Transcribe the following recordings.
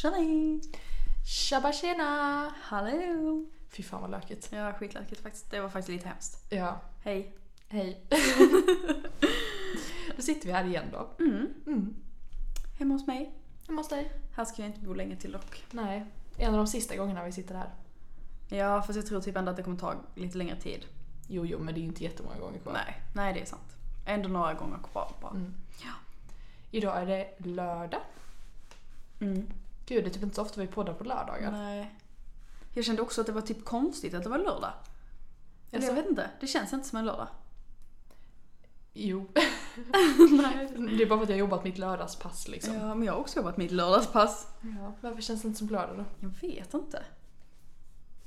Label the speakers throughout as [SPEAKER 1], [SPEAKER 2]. [SPEAKER 1] Tjena!
[SPEAKER 2] Tjaba tjena!
[SPEAKER 1] Hallå!
[SPEAKER 2] Fy fan vad lökigt.
[SPEAKER 1] Ja, skitläskigt faktiskt. Det var faktiskt lite hemskt.
[SPEAKER 2] Ja,
[SPEAKER 1] Hej!
[SPEAKER 2] hej. Då sitter vi här igen då.
[SPEAKER 1] Mm.
[SPEAKER 2] Mm.
[SPEAKER 1] Hemma hos mig.
[SPEAKER 2] Hemma hos dig?
[SPEAKER 1] Här ska jag inte bo länge till dock.
[SPEAKER 2] Nej. En av de sista gångerna vi sitter här.
[SPEAKER 1] Ja, fast jag tror typ ändå att det kommer ta lite längre tid.
[SPEAKER 2] Jo, jo, men det är ju inte jättemånga gånger kvar.
[SPEAKER 1] Nej, nej det är sant. Ändå några gånger kvar bara.
[SPEAKER 2] Mm. Idag är det lördag.
[SPEAKER 1] Mm.
[SPEAKER 2] Gud, det är typ inte så ofta vi poddar på lördagar.
[SPEAKER 1] Nej. Jag kände också att det var typ konstigt att det var lördag. Eller
[SPEAKER 2] Alltså-
[SPEAKER 1] jag vet inte, det känns inte som en lördag.
[SPEAKER 2] Jo.
[SPEAKER 1] nej.
[SPEAKER 2] Det är bara för att jag har jobbat mitt lördagspass liksom.
[SPEAKER 1] Ja, men jag har också jobbat mitt lördagspass.
[SPEAKER 2] Ja. Varför känns det inte som lördag då?
[SPEAKER 1] Jag vet inte.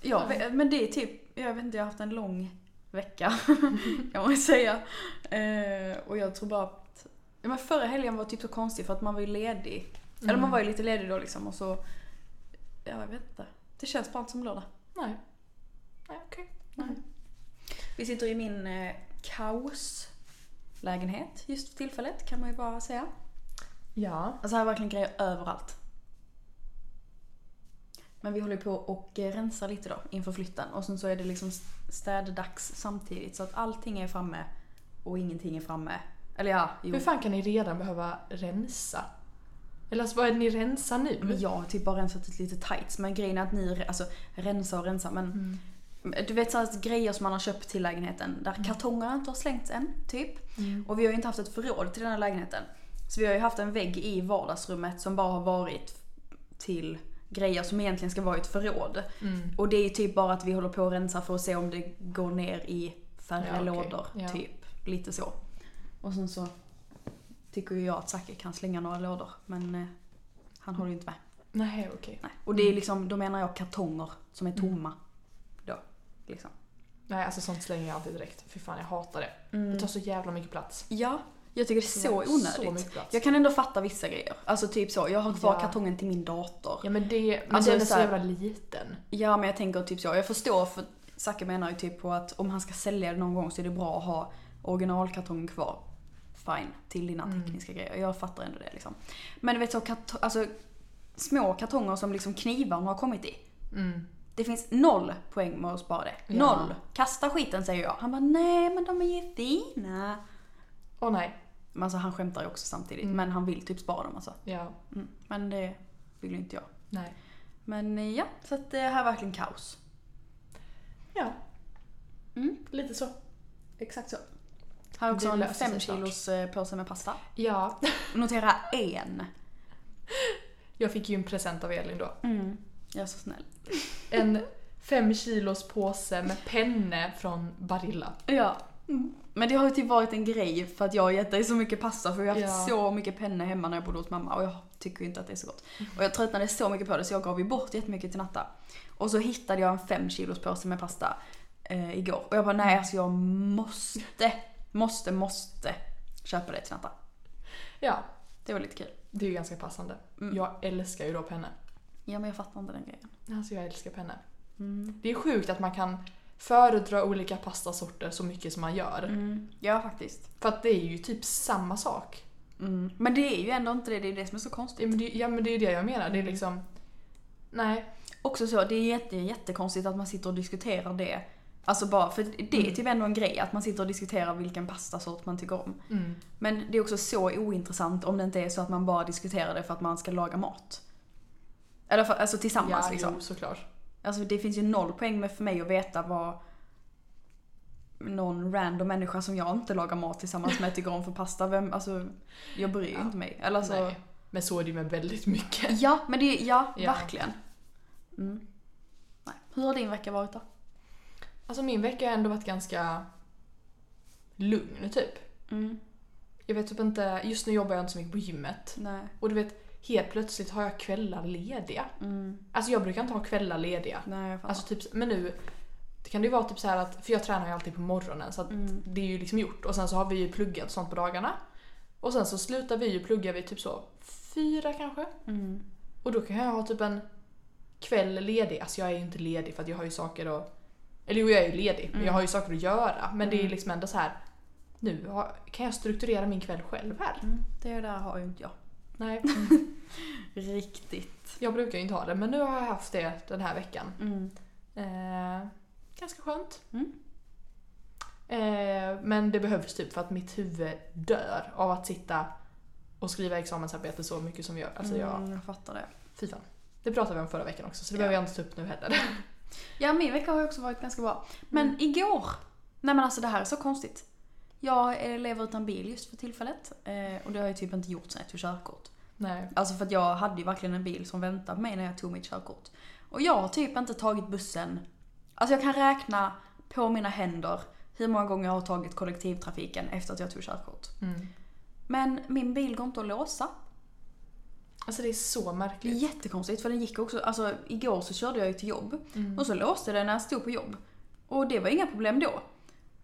[SPEAKER 1] Ja,
[SPEAKER 2] Nej.
[SPEAKER 1] ve- men det är typ, jag vet inte, jag har haft en lång vecka kan man ju säga. Eh, och jag tror bara att, ja, men förra helgen var typ så konstig för att man var ju ledig. Eller
[SPEAKER 2] Mm.
[SPEAKER 1] man var ju lite ledig då liksom och så, ja jag vet inte. Det känns bara inte som lördag.
[SPEAKER 2] Nej. Nej, okej.
[SPEAKER 1] Vi sitter i min eh, kaoslägenhet just för tillfället kan man ju bara säga.
[SPEAKER 2] Ja.
[SPEAKER 1] Alltså här är verkligen grejer överallt. Men vi håller på och eh, rensar lite då inför flytten och sen så är det liksom städdags samtidigt så att allting är framme och ingenting är framme. Eller ja, jo.
[SPEAKER 2] Hur fan kan ni redan behöva rensa? Eller alltså, vad är det ni rensar nu?
[SPEAKER 1] Men Jag har typ bara rensat ut lite tights men grejen är att ni re- alltså, rensar och rensar men
[SPEAKER 2] Mm.
[SPEAKER 1] du vet såhär grejer som man har köpt till lägenheten där kartongerna inte har slängts än typ.
[SPEAKER 2] Mm.
[SPEAKER 1] Och vi har ju inte haft ett förråd till den här lägenheten. Så vi har ju haft en vägg i vardagsrummet som bara har varit till grejer som egentligen ska vara i ett förråd.
[SPEAKER 2] Mm.
[SPEAKER 1] Och det är ju typ bara att vi håller på att rensa för att se om det går ner i färre
[SPEAKER 2] Ja, okej.
[SPEAKER 1] lådor.
[SPEAKER 2] Ja.
[SPEAKER 1] Typ, lite så. Och sen så tycker ju jag att Zacke kan slänga några lådor men eh, han håller ju inte med.
[SPEAKER 2] Nej, okej.
[SPEAKER 1] Nej. Mm. Och det är liksom, då menar jag kartonger som är tomma. Då, liksom.
[SPEAKER 2] Nej, alltså sånt slänger jag alltid direkt. Fy fan, jag hatar det. Det tar så jävla mycket plats.
[SPEAKER 1] Ja, jag tycker det är så onödigt.
[SPEAKER 2] Så mycket plats.
[SPEAKER 1] Jag kan ändå fatta vissa grejer. Alltså typ så, jag har kvar
[SPEAKER 2] Ja.
[SPEAKER 1] kartongen till min dator.
[SPEAKER 2] Ja men det, men
[SPEAKER 1] Alltså,
[SPEAKER 2] den är
[SPEAKER 1] så
[SPEAKER 2] så
[SPEAKER 1] här-
[SPEAKER 2] jävla liten.
[SPEAKER 1] Ja men jag tänker typ så, jag förstår för Zacke menar ju typ på att om han ska sälja det någon gång så är det bra att ha originalkartongen kvar. Fine, till dina tekniska grejer. Jag fattar ändå det liksom. Men du vet så, karto- alltså, små kartonger som liksom knivarna har kommit i.
[SPEAKER 2] Mm.
[SPEAKER 1] Det finns noll poäng med att spara det.
[SPEAKER 2] Ja.
[SPEAKER 1] Noll! Kasta skiten säger jag. Han bara nej men de är ju fina.
[SPEAKER 2] Åh nej.
[SPEAKER 1] Men alltså han skämtar ju också samtidigt.
[SPEAKER 2] Mm.
[SPEAKER 1] Men han vill typ spara dem alltså.
[SPEAKER 2] Ja.
[SPEAKER 1] Mm. Men det vill ju inte jag.
[SPEAKER 2] Nej.
[SPEAKER 1] Men eh, ja, så att det här är verkligen kaos.
[SPEAKER 2] Ja.
[SPEAKER 1] Mm.
[SPEAKER 2] Lite så.
[SPEAKER 1] Exakt så. Här är också
[SPEAKER 2] Det
[SPEAKER 1] en
[SPEAKER 2] löser sig
[SPEAKER 1] 5
[SPEAKER 2] snart.
[SPEAKER 1] kilos eh, påse med pasta.
[SPEAKER 2] Ja.
[SPEAKER 1] Notera en.
[SPEAKER 2] Jag fick ju en present av Elin då.
[SPEAKER 1] Jag är så snäll.
[SPEAKER 2] En fem kilos påse med penne från Barilla.
[SPEAKER 1] Ja. Men det har ju typ varit en grej för att jag har gett dig så mycket pasta för jag har haft
[SPEAKER 2] Ja.
[SPEAKER 1] så mycket penne hemma när jag bodde hos mamma och jag tycker ju inte att det är så gott. Och jag tröttnade så mycket på det så jag gav ju bort jättemycket till Natta. Och så hittade jag en 5 kilos påse med pasta eh, igår och jag bara nej alltså jag måste, måste, måste köpa det till Natta.
[SPEAKER 2] Ja.
[SPEAKER 1] Det var lite kul.
[SPEAKER 2] Det är ju ganska passande. Jag älskar ju då penne.
[SPEAKER 1] Ja men jag fattar inte den grejen.
[SPEAKER 2] Alltså jag älskar penne. Det är sjukt att man kan föredra olika pastasorter så mycket som man gör.
[SPEAKER 1] Ja faktiskt. Mm.
[SPEAKER 2] För att det är ju typ samma sak.
[SPEAKER 1] Men det är ju ändå inte det, det är det som är så konstigt.
[SPEAKER 2] Ja men det, ja, men det är ju det jag menar. Det är liksom... Nej.
[SPEAKER 1] Också så, det är jätte, jättekonstigt att man sitter och diskuterar det. Alltså bara, för det är typ ändå en grej att man sitter och diskuterar vilken pastasort man tycker om.
[SPEAKER 2] Mm.
[SPEAKER 1] Men det är också så ointressant om det inte är så att man bara diskuterar det för att man ska laga mat. Eller för, alltså tillsammans
[SPEAKER 2] Ja,
[SPEAKER 1] liksom.
[SPEAKER 2] jo, såklart.
[SPEAKER 1] Alltså det finns ju noll poäng med för mig att veta vad någon random människa som jag inte lagar mat tillsammans med tycker om för pasta. Vem, alltså, jag bryr ju
[SPEAKER 2] Ja.
[SPEAKER 1] inte mig. Eller så,
[SPEAKER 2] Nej. Alltså, Men så är det ju med väldigt mycket.
[SPEAKER 1] Ja, men det, ja,
[SPEAKER 2] Ja.
[SPEAKER 1] verkligen. Mm. Nej. Hur har din vecka varit då?
[SPEAKER 2] Alltså min vecka har ändå varit ganska lugn typ.
[SPEAKER 1] Mm.
[SPEAKER 2] Jag vet typ inte, just nu jobbar jag inte så mycket på gymmet.
[SPEAKER 1] Nej.
[SPEAKER 2] Och du vet, helt plötsligt har jag kvällar lediga.
[SPEAKER 1] Mm.
[SPEAKER 2] Alltså jag brukar inte ha kvällar lediga.
[SPEAKER 1] Nej, jag fattar.
[SPEAKER 2] Alltså typ, men nu det kan det ju vara typ så här att, för jag tränar ju alltid på morgonen så att
[SPEAKER 1] mm,
[SPEAKER 2] det är ju liksom gjort. Och sen så har vi ju pluggat och sånt på dagarna. Och sen så slutar vi ju plugga vid typ så fyra kanske.
[SPEAKER 1] Mm.
[SPEAKER 2] Och då kan jag ha typ en kväll ledig. Alltså jag är ju inte ledig för att jag har ju saker att... Eller jo, jag är ju ledig. Men
[SPEAKER 1] Mm.
[SPEAKER 2] jag har ju saker att göra. Men det är liksom
[SPEAKER 1] mm.
[SPEAKER 2] ändå så här. Nu har, kan jag strukturera min kväll själv här.
[SPEAKER 1] Det där har ju inte jag.
[SPEAKER 2] Nej.
[SPEAKER 1] Riktigt.
[SPEAKER 2] Jag brukar ju inte ha det men nu har jag haft det den här veckan.
[SPEAKER 1] Mm.
[SPEAKER 2] Eh, ganska skönt.
[SPEAKER 1] Mm.
[SPEAKER 2] Eh, men det behövs typ för att mitt huvud dör av att sitta och skriva examensarbete så mycket som jag gör. Alltså jag,
[SPEAKER 1] Mm, jag fattar det.
[SPEAKER 2] fy fan. Det pratade vi om förra veckan också så det
[SPEAKER 1] Ja.
[SPEAKER 2] behöver jag inte ta upp nu heller.
[SPEAKER 1] Ja, min vecka har ju också varit ganska bra. Men
[SPEAKER 2] Mm.
[SPEAKER 1] igår! Nej men alltså det här är så konstigt. Jag eh, lever utan bil just för tillfället. Eh, och det har jag typ inte gjort sen jag tog körkort.
[SPEAKER 2] Nej.
[SPEAKER 1] Alltså för att jag hade ju verkligen en bil som väntade på mig när jag tog mitt körkort. Och jag har typ inte tagit bussen. Alltså jag kan räkna på mina händer hur många gånger jag har tagit kollektivtrafiken efter att jag tog körkort.
[SPEAKER 2] Mm.
[SPEAKER 1] Men min bil går inte att låsa.
[SPEAKER 2] Alltså det är så
[SPEAKER 1] Det är
[SPEAKER 2] märkligt.
[SPEAKER 1] jättekonstigt för den gick också, alltså igår så körde jag ju till jobb.
[SPEAKER 2] Mm.
[SPEAKER 1] Och så låste den när jag stod på jobb. Och det var inga problem då.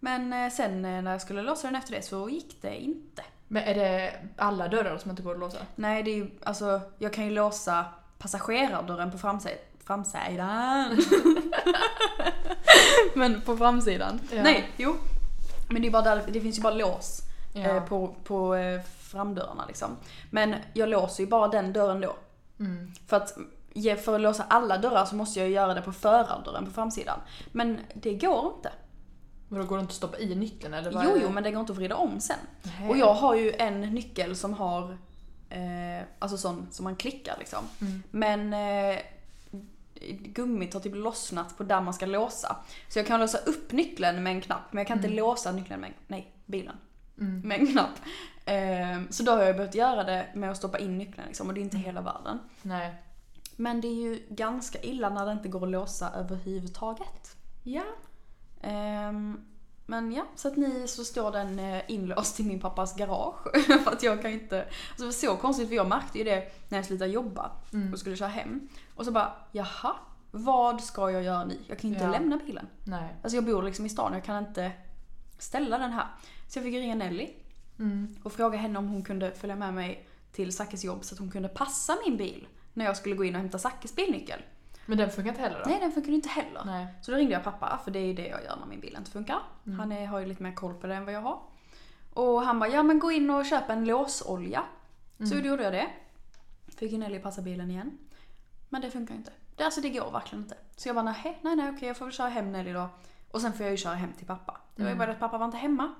[SPEAKER 1] Men eh, sen eh, när jag skulle låsa den efter det så gick det inte.
[SPEAKER 2] Men är det alla dörrar som inte går att låsa?
[SPEAKER 1] Nej, det är ju, alltså jag kan ju låsa passagerardörren på framsi- framsidan. Men på framsidan.
[SPEAKER 2] Ja.
[SPEAKER 1] Nej, jo. Men det, är bara där, det finns ju bara lås eh,
[SPEAKER 2] Eh,
[SPEAKER 1] på, på eh, framdörrarna liksom. Men jag låser ju bara den dörren då.
[SPEAKER 2] Mm.
[SPEAKER 1] För att, ge- för att låsa alla dörrar så måste jag ju göra det på förardörren på framsidan. Men det går inte.
[SPEAKER 2] Vadå, går det inte att stoppa i nyckeln eller? vad
[SPEAKER 1] Jo,
[SPEAKER 2] är det?
[SPEAKER 1] jo, men det går inte att vrida om sen.
[SPEAKER 2] Nej.
[SPEAKER 1] Och jag har ju en nyckel som har, eh, alltså sån som man klickar liksom.
[SPEAKER 2] Mm.
[SPEAKER 1] Men eh, gummit har typ lossnat på där man ska låsa. Så jag kan låsa upp nyckeln med en knapp, men jag kan inte
[SPEAKER 2] Mm.
[SPEAKER 1] låsa nyckeln med, nej, bilen,
[SPEAKER 2] Mm.
[SPEAKER 1] med en knapp. Eh, så då har jag behövt göra det med att stoppa in nyckeln liksom, och det är
[SPEAKER 2] Mm.
[SPEAKER 1] inte hela världen.
[SPEAKER 2] Nej.
[SPEAKER 1] Men det är ju ganska illa när det inte går att låsa överhuvudtaget.
[SPEAKER 2] Ja.
[SPEAKER 1] Ehm, men ja, så att ni så står den eh, inlåst i min pappas garage. för att jag kan inte... Alltså det var så konstigt för jag märkte ju det när jag slutade jobba
[SPEAKER 2] Mm.
[SPEAKER 1] och skulle köra hem. Och så bara, jaha, vad ska jag göra nu? Jag kan inte
[SPEAKER 2] Ja.
[SPEAKER 1] lämna bilen.
[SPEAKER 2] Nej.
[SPEAKER 1] Alltså jag bor liksom i stan, jag kan inte ställa den här. Så jag fick ringa Nelly
[SPEAKER 2] Mm.
[SPEAKER 1] och fråga henne om hon kunde följa med mig till Sackes jobb så att hon kunde passa min bil när jag skulle gå in och hämta Sackes bilnyckel.
[SPEAKER 2] Men den funkar inte heller då?
[SPEAKER 1] Nej, den funkade inte heller.
[SPEAKER 2] Nej.
[SPEAKER 1] Så då ringde jag pappa, för det är ju det jag gör när min bil inte funkar.
[SPEAKER 2] Mm.
[SPEAKER 1] Han är, har ju lite mer koll på det än vad jag har. Och han bara, ja men gå in och köp en låsolja. Så då gjorde jag det. Fick ju Nelly passa bilen igen. Men det funkar ju inte. Det, alltså det går verkligen inte. Så jag bara, nej, nej, nej okej jag får väl köra hem Nelly då. Och sen får jag ju köra hem till pappa. Det var ju
[SPEAKER 2] Mm.
[SPEAKER 1] bara det att pappa var inte hemma.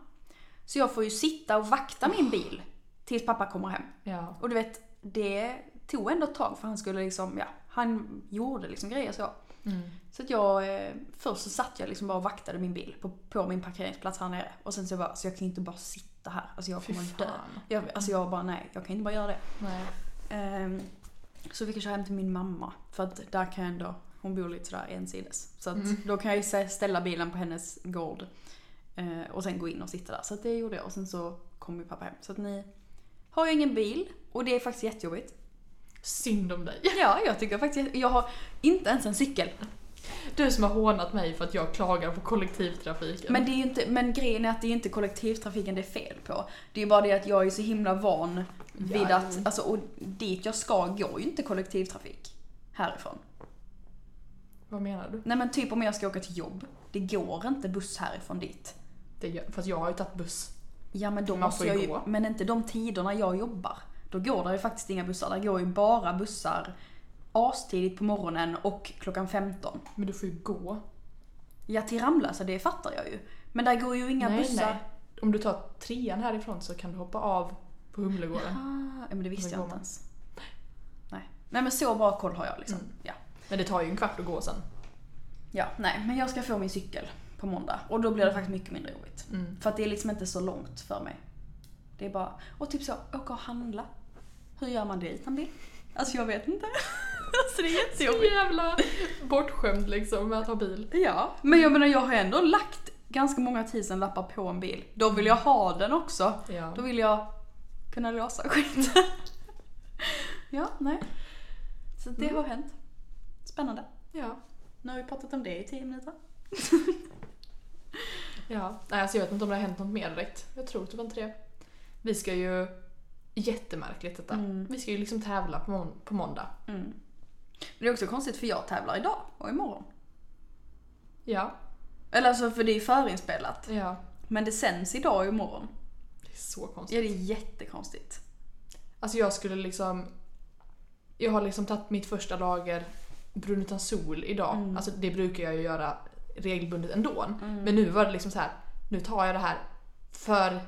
[SPEAKER 1] Så jag får ju sitta och vakta min bil tills pappa kommer hem.
[SPEAKER 2] Ja.
[SPEAKER 1] Och du vet, det tog ändå ett tag för han skulle liksom, ja, han gjorde liksom grejer så.
[SPEAKER 2] Mm.
[SPEAKER 1] Så att jag, eh, först så satt jag liksom bara och vaktade min bil på, på min parkeringsplats här nere. Och sen så bara, så jag kan inte bara sitta här. Alltså jag
[SPEAKER 2] Fy
[SPEAKER 1] kommer
[SPEAKER 2] fan.
[SPEAKER 1] dö. Jag, alltså jag bara, nej, jag kan inte bara göra det.
[SPEAKER 2] Nej.
[SPEAKER 1] Ehm, så fick jag köra hem till min mamma. För att där kan jag ändå, hon bor lite sådär ensides. Så att
[SPEAKER 2] Mm.
[SPEAKER 1] då kan jag ju sä- ställa bilen på hennes gård. eh, och sen gå in och sitta där. Så att det gjorde jag. Och sen så kom ju pappa hem. Så att ni har ju ingen bil. Och det är faktiskt jättejobbigt.
[SPEAKER 2] Synd om dig.
[SPEAKER 1] Ja, jag tycker faktiskt, jag har inte ens en cykel.
[SPEAKER 2] Du som har hånat mig för att jag klagar på kollektivtrafiken.
[SPEAKER 1] Men, det är ju inte, men grejen är att det är inte kollektivtrafiken det är fel på. Det är ju bara det att jag är så himla van vid
[SPEAKER 2] Ja,
[SPEAKER 1] att,
[SPEAKER 2] jo.
[SPEAKER 1] alltså, och dit jag ska går ju inte kollektivtrafik härifrån.
[SPEAKER 2] Vad menar du?
[SPEAKER 1] Nej men typ om jag ska åka till jobb, det går inte buss härifrån dit.
[SPEAKER 2] Det gör, fast jag har ju tagit buss.
[SPEAKER 1] Ja men då
[SPEAKER 2] Man
[SPEAKER 1] måste
[SPEAKER 2] får ju
[SPEAKER 1] jag ju,
[SPEAKER 2] gå.
[SPEAKER 1] men inte de tiderna jag jobbar. Då går det ju faktiskt inga bussar, där går ju bara bussar astidigt på morgonen och klockan 15.
[SPEAKER 2] Men du får ju gå.
[SPEAKER 1] Ja till Ramlösa, det fattar jag ju. Men där går ju inga
[SPEAKER 2] nej,
[SPEAKER 1] bussar.
[SPEAKER 2] nej. Om du tar trean härifrån så kan du hoppa av på Humlegården.
[SPEAKER 1] Ah, ja, men det visste
[SPEAKER 2] Då
[SPEAKER 1] jag
[SPEAKER 2] går
[SPEAKER 1] inte
[SPEAKER 2] man.
[SPEAKER 1] ens. Nej. nej men så bra koll har jag liksom.
[SPEAKER 2] Mm.
[SPEAKER 1] Ja.
[SPEAKER 2] Men det tar ju en kvart att gå sen.
[SPEAKER 1] ja, nej men jag ska få min cykel på måndag och då blir det faktiskt mycket mindre jobbigt.
[SPEAKER 2] Mm.
[SPEAKER 1] För att det är liksom inte så långt för mig. Det är bara, och typ så, åka och handla. Hur gör man det utan bil? Alltså jag vet inte. alltså det är
[SPEAKER 2] Så
[SPEAKER 1] jättejobbigt.
[SPEAKER 2] jävla bortskämd liksom med att ha bil.
[SPEAKER 1] Ja, men jag menar jag har ändå lagt ganska många tusenlappar på en bil. Då vill jag ha den också.
[SPEAKER 2] Ja.
[SPEAKER 1] Då vill jag kunna låsa skiten. ja, nej. Så det
[SPEAKER 2] Mm.
[SPEAKER 1] har hänt. Spännande.
[SPEAKER 2] ja.
[SPEAKER 1] Nu har vi pratat om det i tio minuter.
[SPEAKER 2] Ja, nej alltså jag vet inte om det har hänt något mer direkt. Jag tror typ inte det. Vi ska ju... Jättemärkligt detta.
[SPEAKER 1] Mm.
[SPEAKER 2] Vi ska ju liksom tävla på, mån- på måndag.
[SPEAKER 1] Mm. Men det är också konstigt för jag tävlar idag och imorgon.
[SPEAKER 2] Ja.
[SPEAKER 1] Eller alltså för det är förinspelat.
[SPEAKER 2] Ja.
[SPEAKER 1] Men det sänds idag och imorgon.
[SPEAKER 2] Det är så konstigt.
[SPEAKER 1] Ja, det är jättekonstigt.
[SPEAKER 2] Alltså jag skulle liksom... Jag har liksom tagit mitt första lager brun utan sol idag.
[SPEAKER 1] Mm.
[SPEAKER 2] Alltså det brukar jag ju göra regelbundet ändå. Men nu var det liksom så här. nu tar jag det här för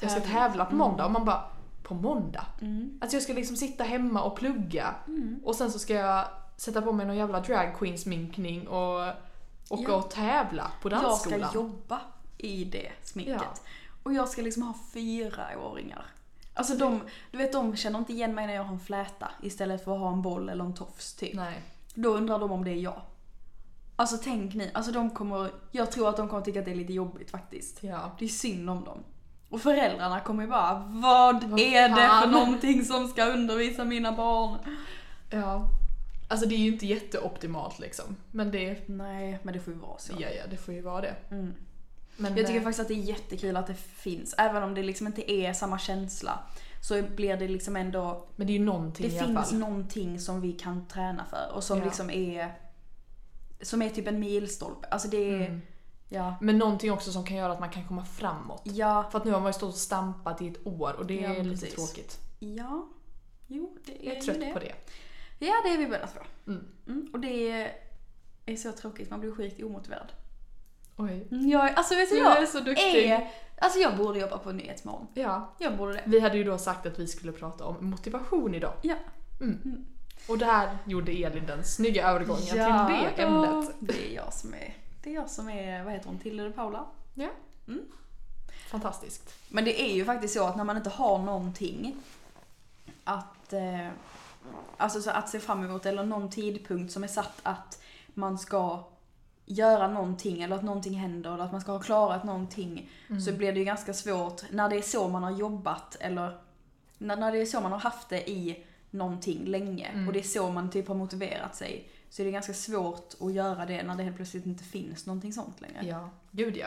[SPEAKER 2] jag ska
[SPEAKER 1] Tävling.
[SPEAKER 2] tävla på
[SPEAKER 1] Mm.
[SPEAKER 2] måndag. Och man bara, på måndag?
[SPEAKER 1] Mm.
[SPEAKER 2] Alltså jag ska liksom sitta hemma och plugga och sen så ska jag sätta på mig någon jävla drag queen sminkning och åka
[SPEAKER 1] Ja.
[SPEAKER 2] och tävla på
[SPEAKER 1] Jag ska
[SPEAKER 2] dansskolan.
[SPEAKER 1] jobba i det sminket.
[SPEAKER 2] Ja.
[SPEAKER 1] Och jag ska liksom ha fyraåringar. Alltså de, du vet de känner inte igen mig när jag har en fläta istället för att ha en boll eller en tofs typ.
[SPEAKER 2] Nej.
[SPEAKER 1] Då undrar de om det är jag. Alltså tänk ni, alltså de kommer, jag tror att de kommer tycka att det är lite jobbigt faktiskt.
[SPEAKER 2] Ja.
[SPEAKER 1] Det är synd om dem. Och föräldrarna kommer ju bara, vad,
[SPEAKER 2] Vad
[SPEAKER 1] är det
[SPEAKER 2] fan?"
[SPEAKER 1] för någonting som ska undervisa mina barn?
[SPEAKER 2] ja. Alltså det är ju inte jätteoptimalt liksom. Men det,
[SPEAKER 1] Nej, men det får ju vara så.
[SPEAKER 2] ja, ja, det får ju vara det.
[SPEAKER 1] Mm.
[SPEAKER 2] Men
[SPEAKER 1] Jag tycker
[SPEAKER 2] eh,
[SPEAKER 1] faktiskt att det är jättekul att det finns, även om det liksom inte är samma känsla. Så blir det liksom ändå,
[SPEAKER 2] Men det är ju någonting
[SPEAKER 1] det
[SPEAKER 2] i alla
[SPEAKER 1] finns
[SPEAKER 2] fall.
[SPEAKER 1] någonting som vi kan träna för och som
[SPEAKER 2] Ja.
[SPEAKER 1] liksom är, som är typ en milstolpe. Alltså det är,
[SPEAKER 2] Mm.
[SPEAKER 1] ja.
[SPEAKER 2] Men någonting också som kan göra att man kan komma framåt.
[SPEAKER 1] Ja,
[SPEAKER 2] För att nu har man ju stått och stampat i ett år och det
[SPEAKER 1] Ja,
[SPEAKER 2] är lite
[SPEAKER 1] precis.
[SPEAKER 2] tråkigt.
[SPEAKER 1] ja. Jo, det är,
[SPEAKER 2] Jag är
[SPEAKER 1] ju
[SPEAKER 2] trött på det.
[SPEAKER 1] Ja, det är vi båda två.
[SPEAKER 2] Mm.
[SPEAKER 1] Mm, och det är, är så tråkigt, man blir sjukt omotiverad.
[SPEAKER 2] Oj.
[SPEAKER 1] Mm, Jag, är- alltså vet du,
[SPEAKER 2] Du
[SPEAKER 1] jag
[SPEAKER 2] är så duktig.
[SPEAKER 1] är... Alltså jag borde jobba på Nyhetsmorgon.
[SPEAKER 2] Ja.
[SPEAKER 1] Jag borde det.
[SPEAKER 2] Vi hade ju då sagt att vi skulle prata om motivation idag.
[SPEAKER 1] Ja.
[SPEAKER 2] Mm. Och där gjorde Elin den snygga övergången till
[SPEAKER 1] Ja, då.
[SPEAKER 2] det ämnet.
[SPEAKER 1] Det är jag som är, det är jag som är, vad heter hon, Tilde de Paula?
[SPEAKER 2] Ja.
[SPEAKER 1] Mm.
[SPEAKER 2] Fantastiskt.
[SPEAKER 1] Men det är ju faktiskt så att när man inte har någonting att, eh, alltså så att se fram emot eller någon tidpunkt som är satt att man ska göra någonting eller att någonting händer eller att man ska ha klarat någonting så blir det ju ganska svårt när det är så man har jobbat eller när, när det är så man har haft det i någonting länge och det är så man typ har motiverat sig så är det ganska svårt att göra det när det helt plötsligt inte finns någonting sånt längre.
[SPEAKER 2] Ja, gud ja.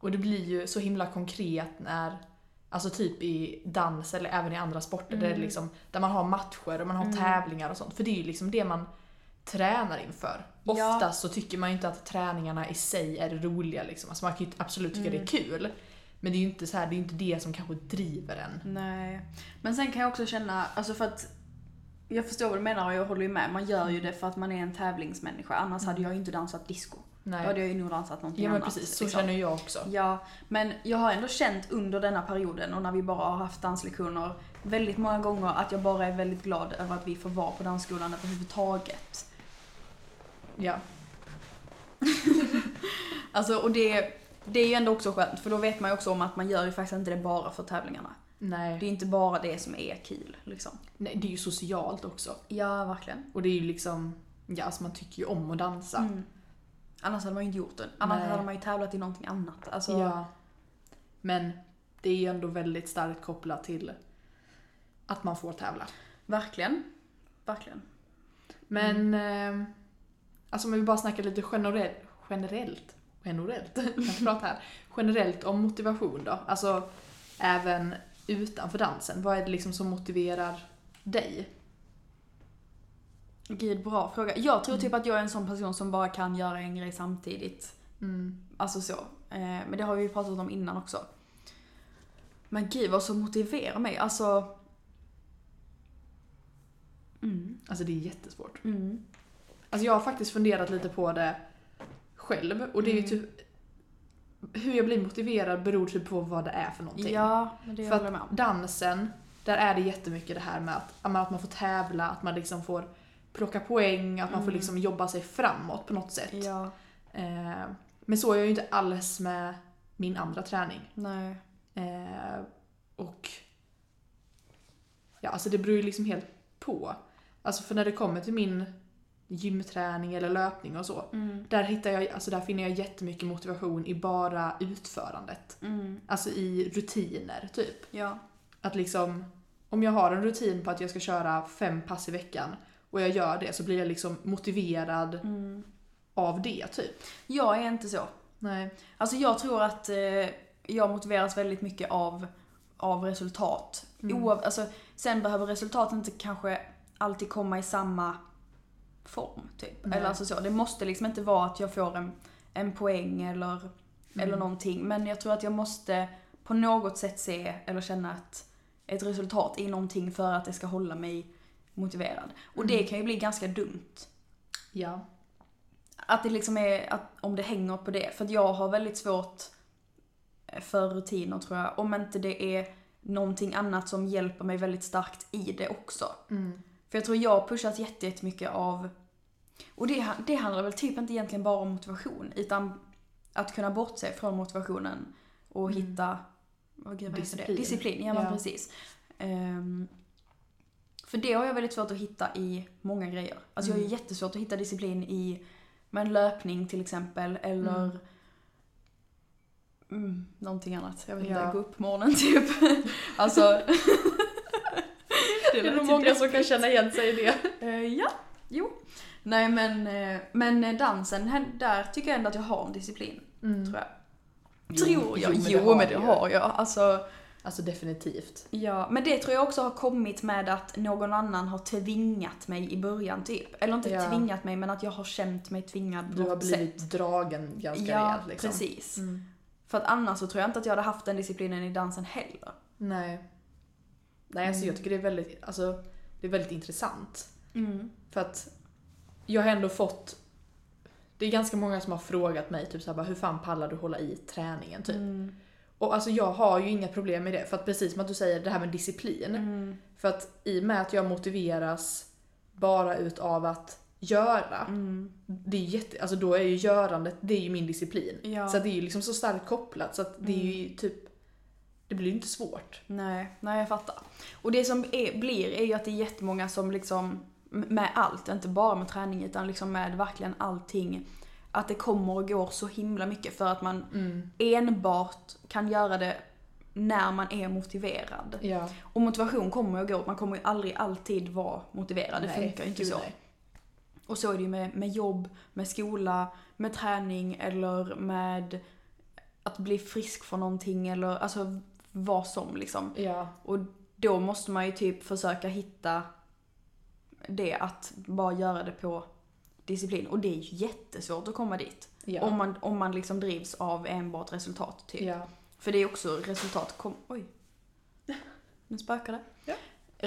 [SPEAKER 2] Och det blir ju så himla konkret när, alltså typ i dans eller även i andra sporter där,
[SPEAKER 1] Mm.
[SPEAKER 2] det liksom, där man har matcher och man har tävlingar och sånt. För det är ju liksom det man tränar inför.
[SPEAKER 1] Ja.
[SPEAKER 2] Oftast så tycker man ju inte att träningarna i sig är roliga liksom. Alltså man kan ju absolut tycka det är
[SPEAKER 1] Mm.
[SPEAKER 2] kul. Men det är ju inte, så här, det, är ju inte det som kanske driver en.
[SPEAKER 1] Nej. Men sen kan jag också känna, alltså för att jag förstår vad du menar och jag håller ju med. Man gör ju det för att man är en tävlingsmänniska. Annars hade jag ju inte dansat disco. Då hade
[SPEAKER 2] Nej.
[SPEAKER 1] jag ju nog dansat någonting
[SPEAKER 2] Ja men
[SPEAKER 1] annat.
[SPEAKER 2] precis, så
[SPEAKER 1] liksom.
[SPEAKER 2] känner jag också.
[SPEAKER 1] Ja, men jag har ändå känt under denna perioden och när vi bara har haft danslektioner väldigt många gånger att jag bara är väldigt glad över att vi får vara på dansskolan överhuvudtaget.
[SPEAKER 2] Ja.
[SPEAKER 1] Alltså, och det, det är ju ändå också skönt för då vet man ju också om att man gör ju faktiskt inte det bara för tävlingarna.
[SPEAKER 2] Nej.
[SPEAKER 1] Det är inte bara det som är kul liksom.
[SPEAKER 2] Nej, det är ju socialt också.
[SPEAKER 1] Ja, verkligen.
[SPEAKER 2] Och det är ju liksom, ja alltså man tycker ju om att dansa.
[SPEAKER 1] Mm. Annars hade man ju inte gjort den. Annars
[SPEAKER 2] Nej.
[SPEAKER 1] hade man ju tävlat i någonting annat. Alltså,
[SPEAKER 2] Ja. Men det är ju ändå väldigt starkt kopplat till att man får tävla.
[SPEAKER 1] Verkligen. Verkligen.
[SPEAKER 2] Men, eh, alltså om vi bara snackar lite generell, generellt, generellt, jag pratar här, generellt om motivation då. Alltså även utanför dansen, vad är det liksom som motiverar dig?
[SPEAKER 1] Gud, bra fråga. Jag tror
[SPEAKER 2] Mm.
[SPEAKER 1] typ att jag är en sån person som bara kan göra en grej samtidigt.
[SPEAKER 2] Mm,
[SPEAKER 1] Alltså så. Eh, Men det har vi ju pratat om innan också. Men gud vad som motiverar mig. Alltså... Mm,
[SPEAKER 2] Alltså det är jättesvårt.
[SPEAKER 1] mm,
[SPEAKER 2] Alltså jag har faktiskt funderat lite på det själv och det är ju
[SPEAKER 1] Mm.
[SPEAKER 2] typ hur jag blir motiverad beror typ på vad det är för någonting.
[SPEAKER 1] ja, men det
[SPEAKER 2] För
[SPEAKER 1] håller jag med
[SPEAKER 2] att
[SPEAKER 1] om.
[SPEAKER 2] dansen, där är det jättemycket det här med att, ja, men att man får tävla, att man liksom får plocka poäng, att man får
[SPEAKER 1] Mm.
[SPEAKER 2] liksom jobba sig framåt på något sätt.
[SPEAKER 1] Ja,
[SPEAKER 2] Eh, men så är jag ju inte alls med min andra träning.
[SPEAKER 1] nej.
[SPEAKER 2] Eh, och ja, alltså det beror ju liksom helt på. Alltså för när det kommer till min gymträning eller löpning och så,
[SPEAKER 1] Mm,
[SPEAKER 2] där, hittar jag, alltså där finner jag jättemycket motivation i bara utförandet.
[SPEAKER 1] mm,
[SPEAKER 2] Alltså i rutiner, typ.
[SPEAKER 1] ja.
[SPEAKER 2] Att liksom, om jag har en rutin på att jag ska köra fem pass i veckan och jag gör det så blir jag liksom motiverad
[SPEAKER 1] Mm.
[SPEAKER 2] av det, typ.
[SPEAKER 1] Jag är inte så.
[SPEAKER 2] Nej.
[SPEAKER 1] Alltså jag tror att eh, jag motiveras väldigt mycket av, av resultat.
[SPEAKER 2] Mm.
[SPEAKER 1] Oav, alltså, sen behöver resultaten inte kanske alltid komma i samma form. Typ.
[SPEAKER 2] Nej.
[SPEAKER 1] Eller alltså så. Det måste liksom inte vara att jag får en, en poäng eller,
[SPEAKER 2] Mm.
[SPEAKER 1] eller någonting. Men jag tror att jag måste på något sätt se eller känna att ett resultat i någonting för att det ska hålla mig motiverad. Och det
[SPEAKER 2] Mm.
[SPEAKER 1] kan ju bli ganska dumt.
[SPEAKER 2] Ja.
[SPEAKER 1] Att det liksom är, att, om det hänger på det. För att jag har väldigt svårt eh, för rutiner tror jag. Om inte det är någonting annat som hjälper mig väldigt starkt i det också.
[SPEAKER 2] Mm.
[SPEAKER 1] För jag tror jag pushas jätte- jättemycket av... Och det, det handlar väl typ inte egentligen bara om motivation, utan att kunna bortse från motivationen och
[SPEAKER 2] Mm.
[SPEAKER 1] hitta... Vad gud, vad heter det?
[SPEAKER 2] Disciplin.
[SPEAKER 1] Disciplin, ja men
[SPEAKER 2] Ja.
[SPEAKER 1] precis. Ehm, för det har jag väldigt svårt att hitta i många grejer. Alltså jag har ju
[SPEAKER 2] Mm.
[SPEAKER 1] jättesvårt att hitta disciplin i men löpning till exempel, eller
[SPEAKER 2] Mm.
[SPEAKER 1] mm. någonting annat. Jag vet inte,
[SPEAKER 2] Ja.
[SPEAKER 1] gå upp på morgonen typ. alltså...
[SPEAKER 2] Det är
[SPEAKER 1] lät
[SPEAKER 2] nog
[SPEAKER 1] ju
[SPEAKER 2] många som kan känna igen sig i det.
[SPEAKER 1] Eh, ja, jo. Nej men, eh, men dansen, här- där tycker jag ändå att jag har en disciplin.
[SPEAKER 2] Mm.
[SPEAKER 1] Tror jag. tror jag. Jo, men det
[SPEAKER 2] du
[SPEAKER 1] har jag. Alltså,
[SPEAKER 2] Alltså definitivt.
[SPEAKER 1] ja. Men det tror jag också har kommit med att någon annan har tvingat mig i början typ. Eller inte
[SPEAKER 2] Ja.
[SPEAKER 1] tvingat mig men att jag har känt mig tvingad på
[SPEAKER 2] Du har
[SPEAKER 1] något
[SPEAKER 2] blivit
[SPEAKER 1] sätt.
[SPEAKER 2] dragen ganska
[SPEAKER 1] ja,
[SPEAKER 2] rejält liksom.
[SPEAKER 1] precis.
[SPEAKER 2] Mm.
[SPEAKER 1] För att annars så tror jag inte att jag hade haft den disciplinen i dansen heller.
[SPEAKER 2] Nej. Nej, alltså jag tycker det är väldigt, alltså, det är väldigt intressant. För att jag har ändå fått... Det är ganska många som har frågat mig typ så här, bara, hur fan pallar du hålla i träningen typ.
[SPEAKER 1] Mm.
[SPEAKER 2] Och alltså jag har ju inga problem med det. För att precis som att du säger det här med disciplin.
[SPEAKER 1] Mm.
[SPEAKER 2] För att i och med att jag motiveras bara utav att göra.
[SPEAKER 1] Mm.
[SPEAKER 2] Det är ju jätte, alltså då är ju görandet, det är ju min disciplin.
[SPEAKER 1] Ja. Mm.
[SPEAKER 2] Så att det är ju liksom så starkt kopplat så att det är ju typ... Det blir ju inte svårt.
[SPEAKER 1] Nej, nej jag fattar. Och det som är, blir är ju att det är jättemånga som liksom m- med allt, inte bara med träning utan liksom med verkligen allting. Att det kommer och går så himla mycket för att man enbart kan göra det när man är motiverad.
[SPEAKER 2] Ja.
[SPEAKER 1] Och motivation kommer och går, man kommer ju aldrig alltid vara motiverad, det funkar ju inte
[SPEAKER 2] gud
[SPEAKER 1] så.
[SPEAKER 2] nej.
[SPEAKER 1] Och så är det ju med, med jobb, med skola, med träning eller med att bli frisk för någonting eller alltså vad som liksom.
[SPEAKER 2] Ja.
[SPEAKER 1] Och då måste man ju typ försöka hitta det att bara göra det på disciplin. Och det är ju jättesvårt att komma dit.
[SPEAKER 2] Ja.
[SPEAKER 1] Om, man, om man liksom drivs av enbart resultat typ.
[SPEAKER 2] ja.
[SPEAKER 1] För det är också resultat kom... Oj. Nu spökade det.
[SPEAKER 2] Ja.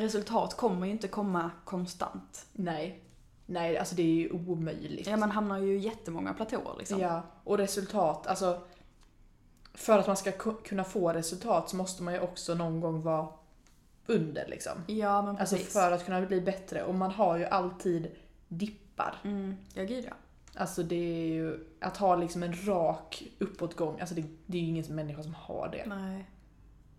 [SPEAKER 1] Resultat kommer ju inte komma konstant.
[SPEAKER 2] Nej. Nej, alltså det är ju omöjligt.
[SPEAKER 1] Ja, man hamnar ju i jättemånga platåer liksom.
[SPEAKER 2] Ja, och resultat, alltså för att man ska ku- kunna få resultat så måste man ju också någon gång vara under liksom.
[SPEAKER 1] Ja, men
[SPEAKER 2] Alltså
[SPEAKER 1] precis.
[SPEAKER 2] för att kunna bli bättre och man har ju alltid dippar.
[SPEAKER 1] Mm, ja, gud ja.
[SPEAKER 2] Alltså det är ju, att ha liksom en rak uppåtgång, alltså det, det är ju ingen människa som har det.
[SPEAKER 1] Nej.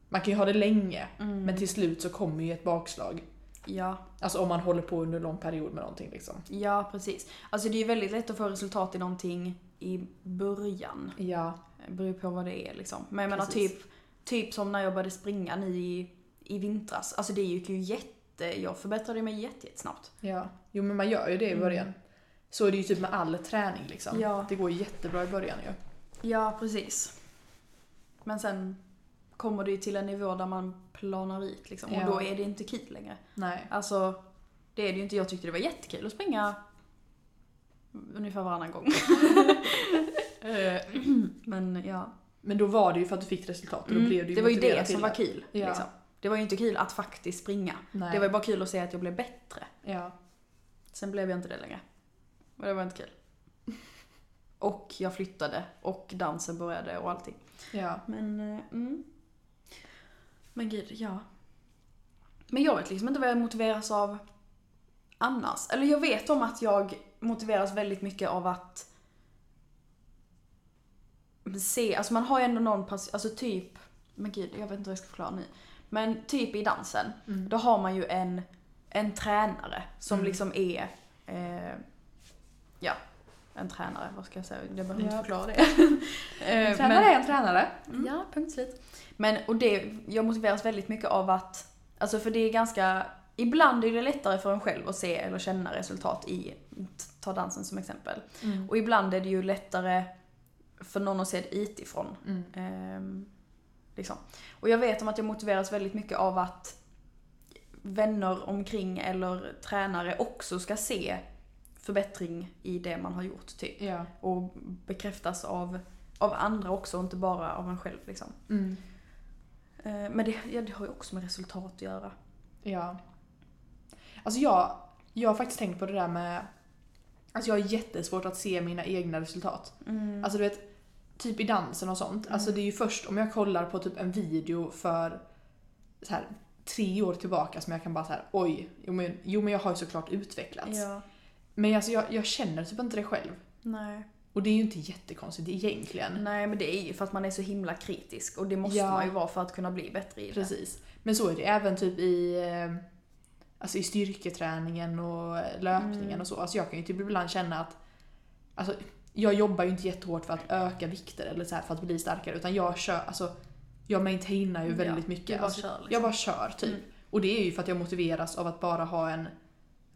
[SPEAKER 2] Man kan ju ha det länge,
[SPEAKER 1] Mm.
[SPEAKER 2] men till slut så kommer ju ett bakslag.
[SPEAKER 1] Ja,
[SPEAKER 2] Alltså om man håller på under en lång period med någonting liksom.
[SPEAKER 1] ja precis. Alltså det är ju väldigt lätt att få resultat i någonting i början.
[SPEAKER 2] Ja,
[SPEAKER 1] Det Eh, beror ju på vad det är liksom. Men jag menar
[SPEAKER 2] Precis.
[SPEAKER 1] typ, typ som när jag började springa nu i, i vintras. Alltså det gick ju jätte... Jag förbättrade mig jätte- jättesnabbt.
[SPEAKER 2] ja. Jo men man gör ju det i
[SPEAKER 1] Mm.
[SPEAKER 2] början. Så är det ju typ med all träning liksom.
[SPEAKER 1] Ja.
[SPEAKER 2] Det går jättebra i början ju.
[SPEAKER 1] Ja, precis. Men sen kommer det ju till en nivå där man planar ut liksom.
[SPEAKER 2] Ja.
[SPEAKER 1] Och då är det inte kul längre.
[SPEAKER 2] Nej.
[SPEAKER 1] Alltså, det är det ju inte. Jag tyckte det var jättekul att springa ungefär varannan gång. Eh, Men ja.
[SPEAKER 2] Men då var det ju för att du fick resultat och då blev du ju
[SPEAKER 1] Mm. det var ju
[SPEAKER 2] motiverad
[SPEAKER 1] det som
[SPEAKER 2] till
[SPEAKER 1] var kul.
[SPEAKER 2] Ja.
[SPEAKER 1] Liksom. Det var ju inte kul att faktiskt springa.
[SPEAKER 2] Nej.
[SPEAKER 1] Det var ju bara kul att se att jag blev bättre.
[SPEAKER 2] Ja.
[SPEAKER 1] Sen blev jag inte det längre. Och det var inte kul. Och jag flyttade och dansen började och allting.
[SPEAKER 2] Ja.
[SPEAKER 1] Men, eh, mm. Men gud, ja. Men jag vet liksom inte vad jag motiveras av annars. Eller jag vet om att jag motiveras väldigt mycket av att se, alltså man har ju ändå någon pass, alltså typ, men gud jag vet inte hur jag ska förklara nu. Men typ i dansen, då har man ju en, en tränare som
[SPEAKER 2] Mm.
[SPEAKER 1] liksom är, eh, ja, en tränare, vad ska jag säga, jag behöver inte
[SPEAKER 2] Ja.
[SPEAKER 1] förklara det. Eh, men-
[SPEAKER 2] Tränare är en tränare.
[SPEAKER 1] Ja, punkt slut. Men och det, jag motiveras väldigt mycket av att, alltså för det är ganska, ibland är det lättare för en själv att se eller känna resultat i, ta dansen som exempel.
[SPEAKER 2] Mm.
[SPEAKER 1] Och ibland är det ju lättare för någon att se det utifrån.
[SPEAKER 2] Mm.
[SPEAKER 1] Ehm, liksom. Och jag vet om att jag motiveras väldigt mycket av att vänner omkring eller tränare också ska se förbättring i det man har gjort typ.
[SPEAKER 2] Ja.
[SPEAKER 1] Och Mm. bekräftas av, av andra också, inte bara av en själv liksom. Eh, Men det, ja, det har ju också med resultat att göra.
[SPEAKER 2] Ja. Alltså jag, jag har faktiskt tänkt på det där med... Alltså jag har jättesvårt att se mina egna resultat.
[SPEAKER 1] Mm.
[SPEAKER 2] Alltså du vet, typ i dansen och sånt. Alltså det är ju först om jag kollar på typ en video för så här, tre år tillbaka som jag kan bara så här, oj, jo men, jo men jag har ju såklart utvecklats.
[SPEAKER 1] Ja,
[SPEAKER 2] Men alltså jag, jag känner typ inte det själv.
[SPEAKER 1] nej.
[SPEAKER 2] Och det är ju inte jättekonstigt egentligen.
[SPEAKER 1] nej, men det är ju för att man är så himla kritisk och det måste
[SPEAKER 2] Ja.
[SPEAKER 1] man ju vara för att kunna bli bättre i det.
[SPEAKER 2] Precis. Men så är det även typ i, eh, alltså i styrketräningen och löpningen
[SPEAKER 1] Mm.
[SPEAKER 2] och så. Alltså jag kan ju typ ibland känna att alltså, jag jobbar ju inte jättehårt för att öka vikter eller så här för att bli starkare utan jag kör, alltså jag maintainar ju
[SPEAKER 1] Ja,
[SPEAKER 2] väldigt
[SPEAKER 1] Du
[SPEAKER 2] mycket.
[SPEAKER 1] bara
[SPEAKER 2] Alltså,
[SPEAKER 1] kör liksom.
[SPEAKER 2] jag bara kör typ.
[SPEAKER 1] Mm.
[SPEAKER 2] Och det är ju för att jag motiveras av att bara ha en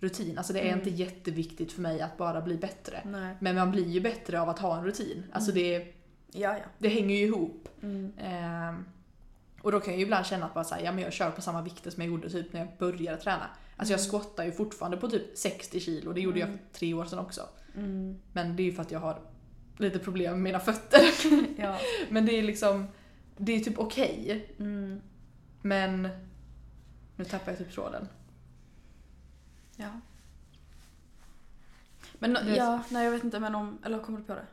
[SPEAKER 2] rutin. Alltså det är
[SPEAKER 1] Mm.
[SPEAKER 2] inte jätteviktigt för mig att bara bli bättre.
[SPEAKER 1] Nej.
[SPEAKER 2] Men man blir ju bättre av att ha en rutin. Alltså
[SPEAKER 1] Mm.
[SPEAKER 2] det,
[SPEAKER 1] Ja, ja.
[SPEAKER 2] det hänger ju ihop.
[SPEAKER 1] Mm.
[SPEAKER 2] Ehm, och då kan jag ju ibland känna att bara så här, ja, men jag kör på samma vikter som jag gjorde typ när jag började träna. Alltså jag
[SPEAKER 1] Mm.
[SPEAKER 2] squattar ju fortfarande på typ 60 kilo, det gjorde jag
[SPEAKER 1] Mm.
[SPEAKER 2] för tre år sedan också.
[SPEAKER 1] Mm.
[SPEAKER 2] Men det är ju för att jag har lite problem med mina fötter.
[SPEAKER 1] Ja.
[SPEAKER 2] men det är liksom, det är typ okej.
[SPEAKER 1] Mm.
[SPEAKER 2] men nu tappar jag typ tråden.
[SPEAKER 1] ja. Men nå-
[SPEAKER 2] Det-
[SPEAKER 1] ja, nej jag vet inte men om, eller kommer du på det?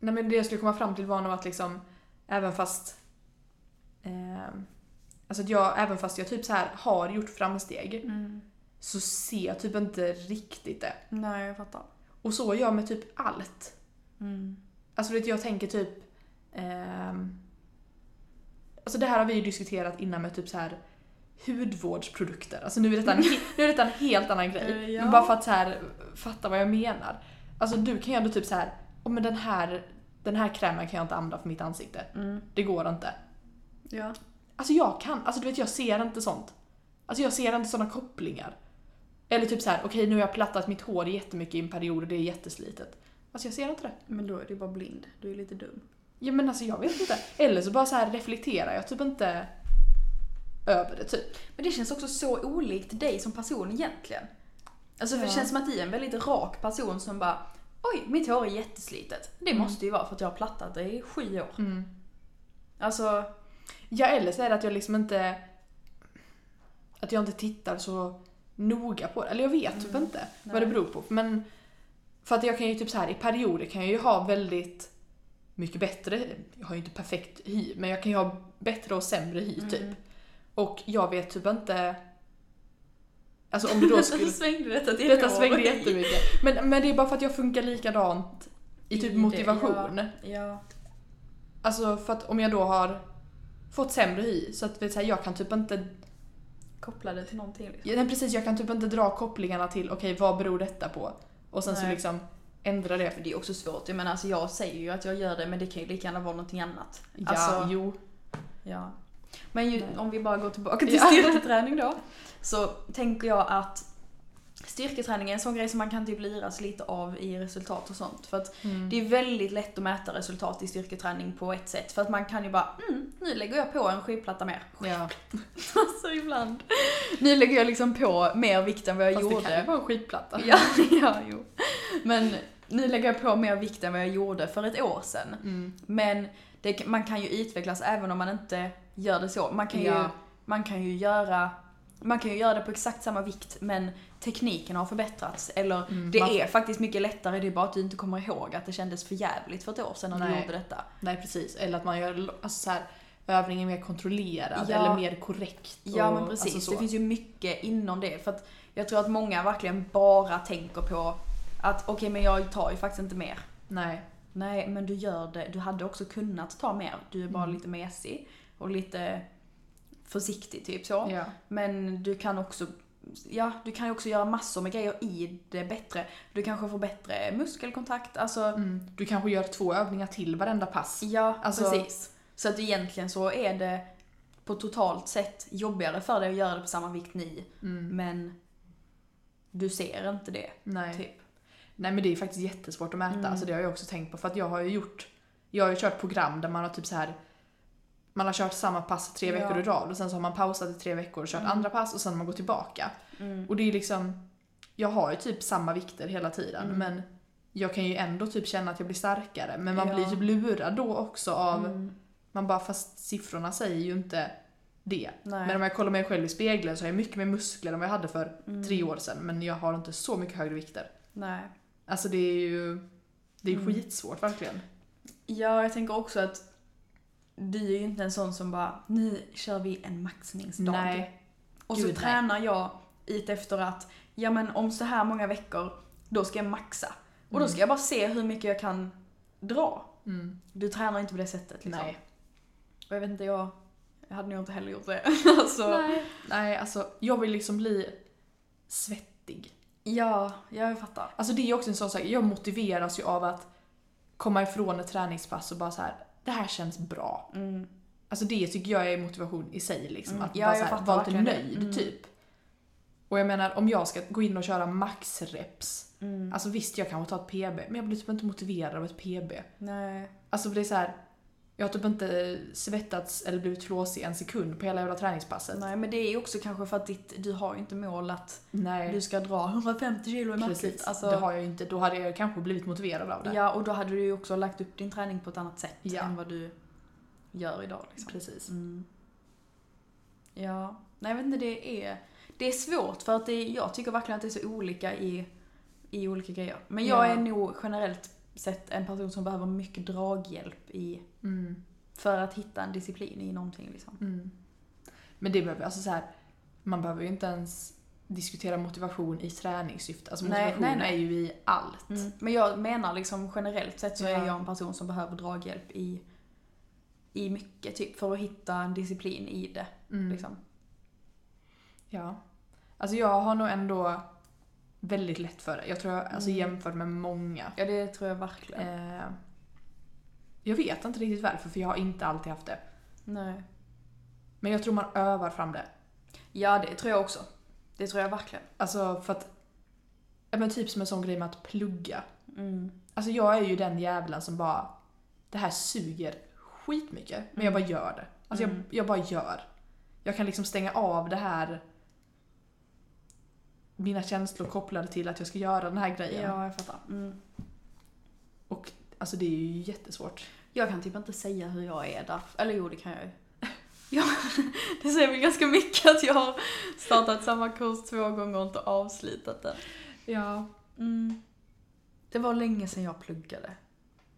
[SPEAKER 2] Nej men det jag skulle komma fram till var nog att liksom, även fast ehm, Alltså att jag, även fast jag typ så här har gjort framsteg
[SPEAKER 1] Mm.
[SPEAKER 2] så ser jag typ inte riktigt det.
[SPEAKER 1] Nej jag fattar.
[SPEAKER 2] Och så gör jag med typ allt.
[SPEAKER 1] Mm.
[SPEAKER 2] Alltså vet, du, jag tänker typ... ehm, alltså det här har vi ju diskuterat innan med typ så här hudvårdsprodukter. Alltså nu är detta en, he- nu är detta en helt annan
[SPEAKER 1] Eh,
[SPEAKER 2] grej.
[SPEAKER 1] ja.
[SPEAKER 2] Men bara för att så här, fatta vad jag menar. Alltså du kan ju ändå typ så här, oh, men den här, den här krämen kan jag inte använda för mitt ansikte.
[SPEAKER 1] Mm.
[SPEAKER 2] Det går inte.
[SPEAKER 1] Ja.
[SPEAKER 2] Alltså jag kan, alltså du vet jag ser inte sånt. Alltså jag ser inte såna kopplingar. Eller typ så här, okej nu har jag plattat mitt hår jättemycket i en period och det är jätteslitet. Alltså jag ser inte det.
[SPEAKER 1] Men då är du bara blind, du är lite dum.
[SPEAKER 2] Ja men alltså jag vet inte. Eller så bara så här reflekterar jag typ inte över det typ.
[SPEAKER 1] Men det känns också så olikt dig som person egentligen. Alltså för det
[SPEAKER 2] Ja.
[SPEAKER 1] känns som att du är en väldigt rak person som bara Oj, mitt hår är jätteslitet. Det
[SPEAKER 2] Mm.
[SPEAKER 1] måste ju vara för att jag har plattat det i sju år. Alltså,
[SPEAKER 2] Ja eller så är det att jag liksom inte... Att jag inte tittar så noga på det. Eller jag vet typ
[SPEAKER 1] Mm.
[SPEAKER 2] inte vad
[SPEAKER 1] Nej.
[SPEAKER 2] det beror på. Men för att jag kan ju typ så här i perioder kan jag ju ha väldigt mycket bättre, jag har ju inte perfekt hy, men jag kan ju ha bättre och sämre hy
[SPEAKER 1] Mm.
[SPEAKER 2] typ. Och jag vet typ inte... Alltså om det då skulle...
[SPEAKER 1] svängde detta till
[SPEAKER 2] Detta
[SPEAKER 1] hår.
[SPEAKER 2] svängde jättemycket. Men, men det är bara för att jag funkar likadant i
[SPEAKER 1] I
[SPEAKER 2] typ
[SPEAKER 1] det,
[SPEAKER 2] motivation.
[SPEAKER 1] Ja.
[SPEAKER 2] Alltså för att om jag då har fått sämre hy så att vet, så här, jag kan typ inte...
[SPEAKER 1] Kopplade till någonting liksom.
[SPEAKER 2] ja, Nej, precis, jag kan typ inte dra kopplingarna till okej vad beror detta på? Och sen så
[SPEAKER 1] Nej.
[SPEAKER 2] liksom ändra det.
[SPEAKER 1] Men det är också svårt. Jag menar, alltså jag säger ju att jag gör det men det kan ju lika gärna vara någonting annat.
[SPEAKER 2] Ja,
[SPEAKER 1] Alltså,
[SPEAKER 2] jo.
[SPEAKER 1] ja. Men ju,
[SPEAKER 2] Nej.
[SPEAKER 1] om vi bara går tillbaka till
[SPEAKER 2] Ja.
[SPEAKER 1] styrketräning då. Så tänker jag att styrketräning är en sån grej som man kan typ liras lite av i resultat och sånt. För att
[SPEAKER 2] Mm.
[SPEAKER 1] det är väldigt lätt att mäta resultat i styrketräning på ett sätt. För att man kan ju bara, mm, nu lägger jag på en skivplatta mer.
[SPEAKER 2] Ja.
[SPEAKER 1] Alltså ibland. Nu lägger jag liksom på mer vikt än vad jag
[SPEAKER 2] Fast det
[SPEAKER 1] gjorde.
[SPEAKER 2] kan ju vara en skitplatta.
[SPEAKER 1] Ja, ja, jo. Men nu lägger jag på mer vikt än vad jag gjorde för ett år sedan.
[SPEAKER 2] Mm.
[SPEAKER 1] Men det, man kan ju utvecklas även om man inte gör det så. Man kan, ju,
[SPEAKER 2] Ja.
[SPEAKER 1] man kan ju göra man kan ju göra det på exakt samma vikt men tekniken har förbättrats. Eller
[SPEAKER 2] Mm,
[SPEAKER 1] det
[SPEAKER 2] man-
[SPEAKER 1] är faktiskt mycket lättare, det är bara att du inte kommer ihåg att det kändes för jävligt för ett år sedan när du
[SPEAKER 2] Nej.
[SPEAKER 1] gjorde detta.
[SPEAKER 2] Nej precis, eller att man gör lo- alltså, så här, övningen mer kontrollerad
[SPEAKER 1] Ja.
[SPEAKER 2] eller mer korrekt.
[SPEAKER 1] Ja
[SPEAKER 2] och-
[SPEAKER 1] men precis,
[SPEAKER 2] Alltså, så.
[SPEAKER 1] det finns ju mycket inom det. För att jag tror att många verkligen bara tänker på att okej men jag tar ju faktiskt inte mer.
[SPEAKER 2] Nej.
[SPEAKER 1] Nej, men du gör det. Du hade också kunnat ta mer. Du är bara
[SPEAKER 2] Mm.
[SPEAKER 1] lite mesig och lite försiktig typ så.
[SPEAKER 2] Ja.
[SPEAKER 1] Men du kan också Ja, du kan ju också göra massor med grejer i det bättre. Du kanske får bättre muskelkontakt. Alltså,
[SPEAKER 2] Mm. Du kanske gör två övningar till varenda pass.
[SPEAKER 1] ja,
[SPEAKER 2] Alltså-
[SPEAKER 1] precis. Så att egentligen så är det på totalt sett jobbigare för dig att göra det på samma vikt ni.
[SPEAKER 2] Mm.
[SPEAKER 1] Men du ser inte det.
[SPEAKER 2] Nej.
[SPEAKER 1] Typ.
[SPEAKER 2] Nej men det är faktiskt jättesvårt att mäta,
[SPEAKER 1] Mm.
[SPEAKER 2] alltså det har jag också tänkt på för att jag har ju gjort Jag har ju kört program där man har typ så här Man har kört samma pass tre
[SPEAKER 1] Ja.
[SPEAKER 2] veckor i rad och sen så har man pausat i tre veckor och kört
[SPEAKER 1] Mm.
[SPEAKER 2] andra pass och sen har man gått tillbaka.
[SPEAKER 1] Mm.
[SPEAKER 2] Och det är ju liksom Jag har ju typ samma vikter hela tiden
[SPEAKER 1] Mm.
[SPEAKER 2] men Jag kan ju ändå typ känna att jag blir starkare men man
[SPEAKER 1] Ja.
[SPEAKER 2] blir typ lurad då också av
[SPEAKER 1] Mm.
[SPEAKER 2] Man bara, fast siffrorna säger ju inte det.
[SPEAKER 1] Nej.
[SPEAKER 2] Men om jag kollar mig själv i spegeln så har jag mycket mer muskler än vad jag hade för
[SPEAKER 1] Mm.
[SPEAKER 2] tre år sedan. Men jag har inte så mycket högre vikter.
[SPEAKER 1] Nej.
[SPEAKER 2] Alltså det är ju det är
[SPEAKER 1] Mm.
[SPEAKER 2] skitsvårt verkligen.
[SPEAKER 1] Ja, jag tänker också att du är ju inte en sån som bara, nu kör vi en maxningsdag.
[SPEAKER 2] Nej.
[SPEAKER 1] Och så
[SPEAKER 2] Gud, nej.
[SPEAKER 1] tränar jag it efter att, ja men om så här många veckor, då ska jag maxa. Och då ska jag bara se hur mycket jag kan dra.
[SPEAKER 2] Mm.
[SPEAKER 1] Du tränar inte på det sättet liksom.
[SPEAKER 2] Nej.
[SPEAKER 1] Och jag vet inte, jag, jag hade nog inte heller gjort det. alltså,
[SPEAKER 2] Nej. Nej, alltså jag vill liksom bli svettig.
[SPEAKER 1] Ja, jag fattar.
[SPEAKER 2] Alltså det är också en sån sak, jag motiveras ju av att komma ifrån ett träningspass och bara så här, det här känns bra.
[SPEAKER 1] Mm.
[SPEAKER 2] Alltså det tycker jag är motivation i sig liksom.
[SPEAKER 1] Mm.
[SPEAKER 2] Att
[SPEAKER 1] Ja,
[SPEAKER 2] bara
[SPEAKER 1] jag
[SPEAKER 2] så här,
[SPEAKER 1] fattar
[SPEAKER 2] vara lite
[SPEAKER 1] verkligen det.
[SPEAKER 2] nöjd
[SPEAKER 1] Mm.
[SPEAKER 2] typ. Och jag menar om jag ska gå in och köra maxreps.
[SPEAKER 1] Mm.
[SPEAKER 2] Alltså visst jag kanske tar ett PB, men jag blir typ inte motiverad av ett PB.
[SPEAKER 1] Nej.
[SPEAKER 2] Alltså för det är så här, jag har typ inte svettats eller blivit flåsig en sekund på hela jävla träningspasset.
[SPEAKER 1] Nej, men det är ju också kanske för att ditt, du har ju inte mål att
[SPEAKER 2] Nej.
[SPEAKER 1] du ska dra 150 kilo i maxigt.
[SPEAKER 2] Precis, det
[SPEAKER 1] Alltså,
[SPEAKER 2] har jag ju inte. Då hade jag kanske blivit motiverad av det.
[SPEAKER 1] ja, och då hade du ju också lagt upp din träning på ett annat sätt
[SPEAKER 2] Ja.
[SPEAKER 1] än vad du gör idag. Liksom.
[SPEAKER 2] Precis.
[SPEAKER 1] Mm. Ja, nej jag vet inte, det är, det är svårt för att det är, jag tycker verkligen att det är så olika i, i olika grejer. Men jag
[SPEAKER 2] Ja.
[SPEAKER 1] är nog generellt sett en person som behöver mycket draghjälp i,
[SPEAKER 2] Mm.
[SPEAKER 1] för att hitta en disciplin i någonting. Liksom.
[SPEAKER 2] Mm. Men det behöver, alltså så här, man behöver ju inte ens diskutera motivation i träningssyfte. Alltså
[SPEAKER 1] Nej,
[SPEAKER 2] motivation
[SPEAKER 1] nej, nej.
[SPEAKER 2] är ju i allt.
[SPEAKER 1] Mm. Men jag menar liksom generellt sett så
[SPEAKER 2] Ja.
[SPEAKER 1] är jag en person som behöver draghjälp i, i mycket typ för att hitta en disciplin i det.
[SPEAKER 2] Mm.
[SPEAKER 1] Liksom.
[SPEAKER 2] Ja. Alltså jag har nog ändå väldigt lätt för det. Jag tror jag, alltså
[SPEAKER 1] Mm.
[SPEAKER 2] jämfört med många.
[SPEAKER 1] Ja det tror jag verkligen.
[SPEAKER 2] Eh, jag vet inte riktigt varför, för jag har inte alltid haft det.
[SPEAKER 1] Nej.
[SPEAKER 2] Men jag tror man övar fram det.
[SPEAKER 1] Ja det tror jag också. Det tror jag verkligen.
[SPEAKER 2] Alltså för att, ja, men typ som en sån grej med att plugga.
[SPEAKER 1] Mm.
[SPEAKER 2] Alltså jag är ju den jävla som bara, det här suger skitmycket. Men jag bara gör det. Alltså
[SPEAKER 1] Mm.
[SPEAKER 2] jag, jag bara gör. Jag kan liksom stänga av det här, mina känslor kopplade till att jag ska göra den här grejen.
[SPEAKER 1] Ja jag fattar. Mm.
[SPEAKER 2] Och alltså det är ju jättesvårt.
[SPEAKER 1] Jag kan typ inte säga hur jag är där. Eller jo, det kan jag ju. Ja, det säger väl ganska mycket att jag har startat samma kurs två gånger och inte avslutat den. Mm.
[SPEAKER 2] Ja.
[SPEAKER 1] Det var länge sedan jag pluggade.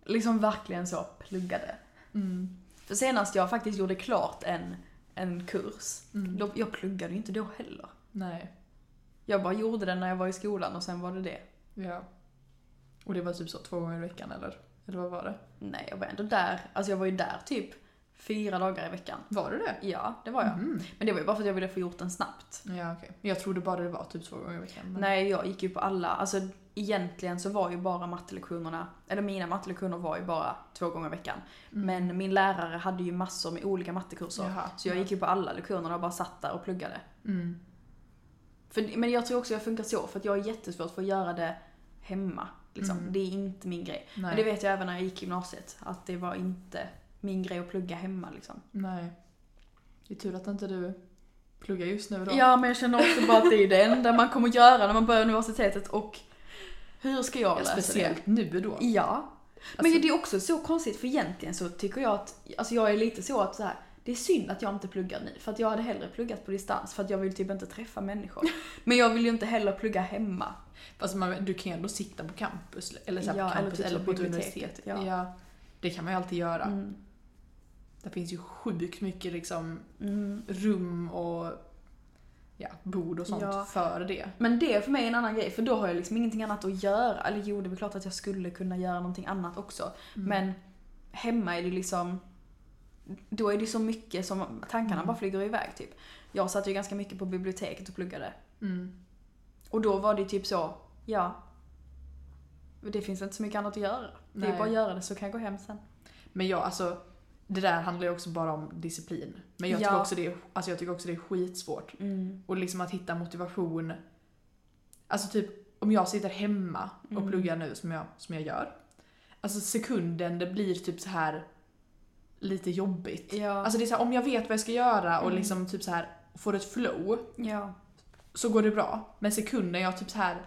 [SPEAKER 1] Liksom verkligen så, pluggade.
[SPEAKER 2] Mm.
[SPEAKER 1] För senast jag faktiskt gjorde klart en, en kurs,
[SPEAKER 2] Mm.
[SPEAKER 1] då, jag pluggade ju inte då heller.
[SPEAKER 2] Nej.
[SPEAKER 1] Jag bara gjorde den när jag var i skolan och sen var det det.
[SPEAKER 2] Ja. Och det var typ så två gånger i veckan eller? Eller vad var det?
[SPEAKER 1] Nej, jag var ändå där. Alltså jag var ju där typ fyra dagar i veckan.
[SPEAKER 2] Var det det?
[SPEAKER 1] Ja, det var jag.
[SPEAKER 2] Mm.
[SPEAKER 1] Men det var ju bara för att jag ville få gjort den snabbt.
[SPEAKER 2] Ja okej. Men Jag trodde bara det var typ två gånger i veckan. men-
[SPEAKER 1] Nej, jag gick ju på alla. Alltså egentligen så var ju bara mattelektionerna, eller mina mattelektioner var ju bara två gånger i veckan.
[SPEAKER 2] Mm.
[SPEAKER 1] Men min lärare hade ju massor med olika mattekurser.
[SPEAKER 2] Jaha.
[SPEAKER 1] Så jag gick ju på alla lektionerna och bara satt där och pluggade.
[SPEAKER 2] Mm.
[SPEAKER 1] För, men jag tror också jag funkar så, för att jag är jättesvårt för att göra det hemma. Liksom.
[SPEAKER 2] Mm.
[SPEAKER 1] Det är inte min grej.
[SPEAKER 2] Nej.
[SPEAKER 1] Men det vet jag även när jag gick gymnasiet, att det var inte min grej att plugga hemma liksom.
[SPEAKER 2] Nej. Det är tur att inte du pluggar just nu då.
[SPEAKER 1] Ja, men jag känner också bara att det är det enda man kommer göra när man börjar universitetet och hur ska jag
[SPEAKER 2] Ja,
[SPEAKER 1] lösa det?
[SPEAKER 2] speciellt nu då.
[SPEAKER 1] Ja.
[SPEAKER 2] Alltså-
[SPEAKER 1] men det är också så konstigt för egentligen så tycker jag att, alltså jag är lite så att så här, det är synd att jag inte pluggar nu för att jag hade hellre pluggat på distans för att jag vill typ inte träffa människor. Men jag vill ju inte heller plugga hemma.
[SPEAKER 2] Fast man, du kan ju ändå sitta på campus eller, så här
[SPEAKER 1] Ja,
[SPEAKER 2] på
[SPEAKER 1] eller
[SPEAKER 2] campus,
[SPEAKER 1] typ
[SPEAKER 2] eller,
[SPEAKER 1] så
[SPEAKER 2] på ett
[SPEAKER 1] biblioteket,
[SPEAKER 2] universitet.
[SPEAKER 1] ja.
[SPEAKER 2] Det kan man ju alltid göra.
[SPEAKER 1] Mm.
[SPEAKER 2] Det finns ju sjukt mycket liksom,
[SPEAKER 1] Mm.
[SPEAKER 2] rum och ja, bord och sånt
[SPEAKER 1] Ja.
[SPEAKER 2] för det.
[SPEAKER 1] Men det är för mig en annan grej för då har jag liksom ingenting annat att göra. Eller jo, det är väl klart att jag skulle kunna göra någonting annat också. Men hemma är det liksom, då är det så mycket som tankarna bara flyger iväg typ. Jag satt ju ganska mycket på biblioteket och pluggade.
[SPEAKER 2] Mm.
[SPEAKER 1] Och då var det typ så, ja. Det finns inte så mycket annat att göra. Det
[SPEAKER 2] Nej.
[SPEAKER 1] är bara att göra det så kan jag gå hem sen.
[SPEAKER 2] Men ja, alltså det där handlar ju också bara om disciplin. Men jag,
[SPEAKER 1] Ja.
[SPEAKER 2] tycker också det är, alltså jag tycker också det är skitsvårt.
[SPEAKER 1] Mm.
[SPEAKER 2] Och liksom att hitta motivation. Alltså typ om jag sitter hemma och
[SPEAKER 1] Mm.
[SPEAKER 2] pluggar nu som jag, som jag gör. Alltså sekunden det blir typ så här lite jobbigt.
[SPEAKER 1] Ja.
[SPEAKER 2] Alltså det är så här, om jag vet vad jag ska göra och
[SPEAKER 1] Mm.
[SPEAKER 2] liksom typ så här får ett flow
[SPEAKER 1] ja.
[SPEAKER 2] så går det bra. Men sekunden jag typ så här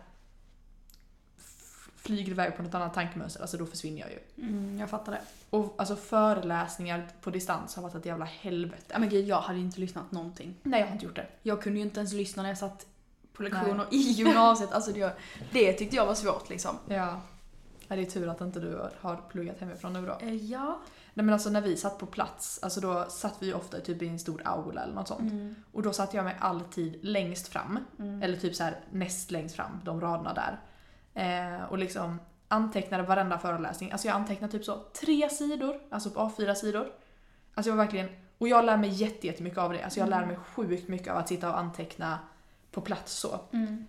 [SPEAKER 2] f- flyger iväg på något annat tankemönster, alltså då försvinner jag ju.
[SPEAKER 1] Mm, jag fattar det.
[SPEAKER 2] Och alltså föreläsningar på distans har varit ett jävla helvete.
[SPEAKER 1] Ja, men gud, jag hade inte lyssnat någonting.
[SPEAKER 2] Nej, jag har inte gjort det.
[SPEAKER 1] Jag kunde ju inte ens lyssna när jag satt på lektioner i gymnasiet. Alltså det, det tyckte jag var svårt liksom.
[SPEAKER 2] Ja. ja. Det är tur att inte du har pluggat hemifrån nu då.
[SPEAKER 1] Eh, Ja.
[SPEAKER 2] Nej men alltså när vi satt på plats, alltså då satt vi ju ofta typ i en stor aula eller något sånt.
[SPEAKER 1] Mm.
[SPEAKER 2] Och då satt jag mig alltid längst fram,
[SPEAKER 1] Mm.
[SPEAKER 2] eller typ så här näst längst fram, de raderna där. Eh, och liksom antecknade varenda föreläsning. Alltså jag antecknade typ så tre sidor, alltså på A4 sidor. Alltså jag var verkligen, och jag lär mig jätte- jättemycket av det. Alltså jag
[SPEAKER 1] Mm.
[SPEAKER 2] lär mig sjukt mycket av att sitta och anteckna på plats så.
[SPEAKER 1] Mm.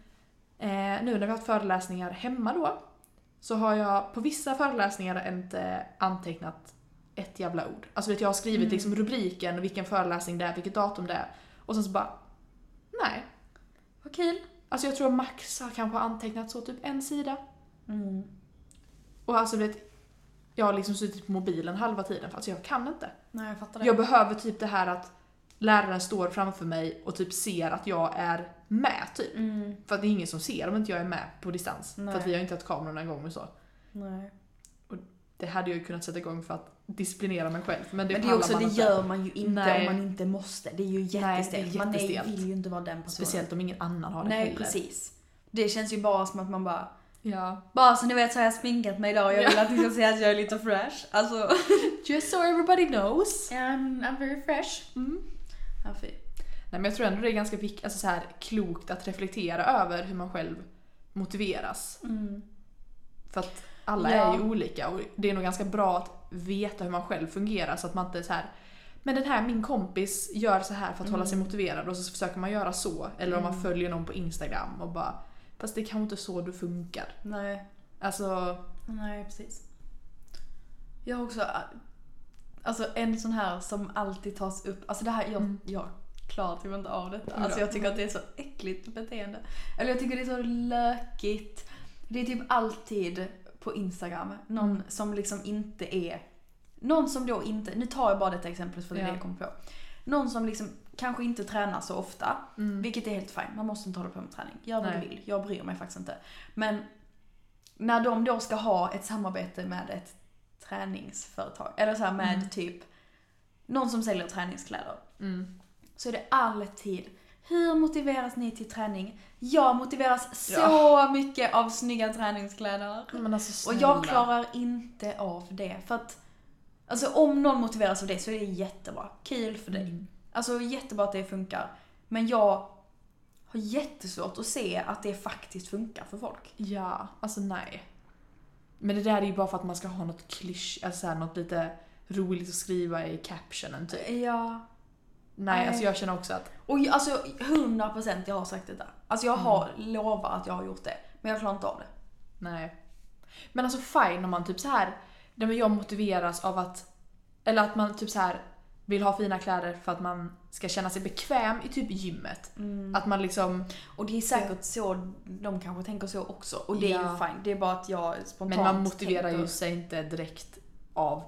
[SPEAKER 2] Eh, nu när vi har haft föreläsningar hemma då, så har jag på vissa föreläsningar inte antecknat ett jävla ord. Alltså vet jag, jag har skrivit
[SPEAKER 1] Mm.
[SPEAKER 2] liksom rubriken, vilken föreläsning det är, vilket datum det är. Och sen så bara, nej.
[SPEAKER 1] Vad kul.
[SPEAKER 2] Alltså jag tror max har kanske antecknat så typ en sida.
[SPEAKER 1] Mm.
[SPEAKER 2] Och alltså du vet, jag har liksom suttit på mobilen halva tiden för alltså jag kan inte.
[SPEAKER 1] Nej, jag fattar det.
[SPEAKER 2] Jag behöver typ det här att läraren står framför mig och typ ser att jag är med typ.
[SPEAKER 1] Mm.
[SPEAKER 2] För att det är ingen som ser om inte jag är med på distans.
[SPEAKER 1] Nej.
[SPEAKER 2] För att vi har inte haft kamerorna igång och så.
[SPEAKER 1] Nej.
[SPEAKER 2] Det hade jag ju kunnat sätta igång för att disciplinera mig själv. Men det,
[SPEAKER 1] Men det är
[SPEAKER 2] pallar
[SPEAKER 1] också,
[SPEAKER 2] man
[SPEAKER 1] det
[SPEAKER 2] inte.
[SPEAKER 1] gör man ju inte
[SPEAKER 2] Nej.
[SPEAKER 1] om man inte måste. Det är ju
[SPEAKER 2] det är
[SPEAKER 1] jättestelt. man är,
[SPEAKER 2] jättestelt.
[SPEAKER 1] vill ju inte vara den personen.
[SPEAKER 2] Speciellt om ingen annan har det
[SPEAKER 1] Nej,
[SPEAKER 2] heller.
[SPEAKER 1] precis. Det känns ju bara som att man bara
[SPEAKER 2] Ja.
[SPEAKER 1] Bara så ni vet så har jag sminkat mig idag och jag vill att ni ska se att jag är lite fresh. Alltså...
[SPEAKER 2] Just so everybody knows.
[SPEAKER 1] I'm, I'm very fresh. Mm. Ja, fy.
[SPEAKER 2] Nej, men jag tror ändå det är ganska vik- alltså så här, klokt att reflektera över hur man själv motiveras.
[SPEAKER 1] Mm.
[SPEAKER 2] För att alla
[SPEAKER 1] Ja.
[SPEAKER 2] är ju olika och det är nog ganska bra att veta hur man själv fungerar så att man inte är så här men den här min kompis gör så här för att hålla sig motiverad och så försöker man göra så. Eller om man följer någon på Instagram och bara fast det är kanske inte så du funkar.
[SPEAKER 1] Nej,
[SPEAKER 2] Alltså,
[SPEAKER 1] nej precis. Jag har också... äh, Alltså en sån här som alltid tas upp. Alltså det här, jag,
[SPEAKER 2] Mm.
[SPEAKER 1] jag klarar typ inte av detta.
[SPEAKER 2] Hur
[SPEAKER 1] Alltså
[SPEAKER 2] då?
[SPEAKER 1] jag tycker att det är så äckligt beteende. Eller jag tycker det är så lökigt. Det är typ alltid på Instagram någon
[SPEAKER 2] Mm.
[SPEAKER 1] som liksom inte är... Någon som då inte... Nu tar jag bara detta exemplet för det är
[SPEAKER 2] Ja.
[SPEAKER 1] det jag kom på. Någon som liksom kanske inte tränar så ofta.
[SPEAKER 2] mm.
[SPEAKER 1] Vilket är helt fint, man måste inte hålla på med träning. Gör vad du
[SPEAKER 2] Nej.
[SPEAKER 1] vill, jag bryr mig faktiskt inte. Men när de då ska ha ett samarbete med ett träningsföretag, eller så här med typ någon som säljer träningskläder,
[SPEAKER 2] Mm.
[SPEAKER 1] så är det alltid hur motiveras ni till träning? Jag motiveras så mycket av snygga träningskläder.
[SPEAKER 2] Men alltså,
[SPEAKER 1] Och
[SPEAKER 2] snälla.
[SPEAKER 1] jag klarar inte av det. För att alltså, om någon motiveras av det så är det jättebra. Kul för dig.
[SPEAKER 2] Mm.
[SPEAKER 1] Alltså jättebra att det funkar. Men jag har jättesvårt att se att det faktiskt funkar för folk.
[SPEAKER 2] Ja, alltså nej. Men det där är ju bara för att man ska ha något klysch, alltså så här, något lite roligt att skriva i captionen typ.
[SPEAKER 1] Ja.
[SPEAKER 2] Nej,
[SPEAKER 1] Nej.
[SPEAKER 2] alltså jag känner också att
[SPEAKER 1] Och jag, alltså 100% jag har sagt detta. Alltså jag har
[SPEAKER 2] Mm.
[SPEAKER 1] lovar att jag har gjort det. Men jag klarar inte av det.
[SPEAKER 2] nej. Men alltså fine om man typ så här, nej men jag motiveras av att, eller att man typ så här vill ha fina kläder för att man ska känna sig bekväm i typ gymmet.
[SPEAKER 1] Mm.
[SPEAKER 2] Att man liksom,
[SPEAKER 1] Och det är säkert så de kanske tänker så också. Och det är ju
[SPEAKER 2] Ja.
[SPEAKER 1] fine. Det är bara att jag spontant
[SPEAKER 2] men man motiverar
[SPEAKER 1] tänker-
[SPEAKER 2] ju sig inte direkt av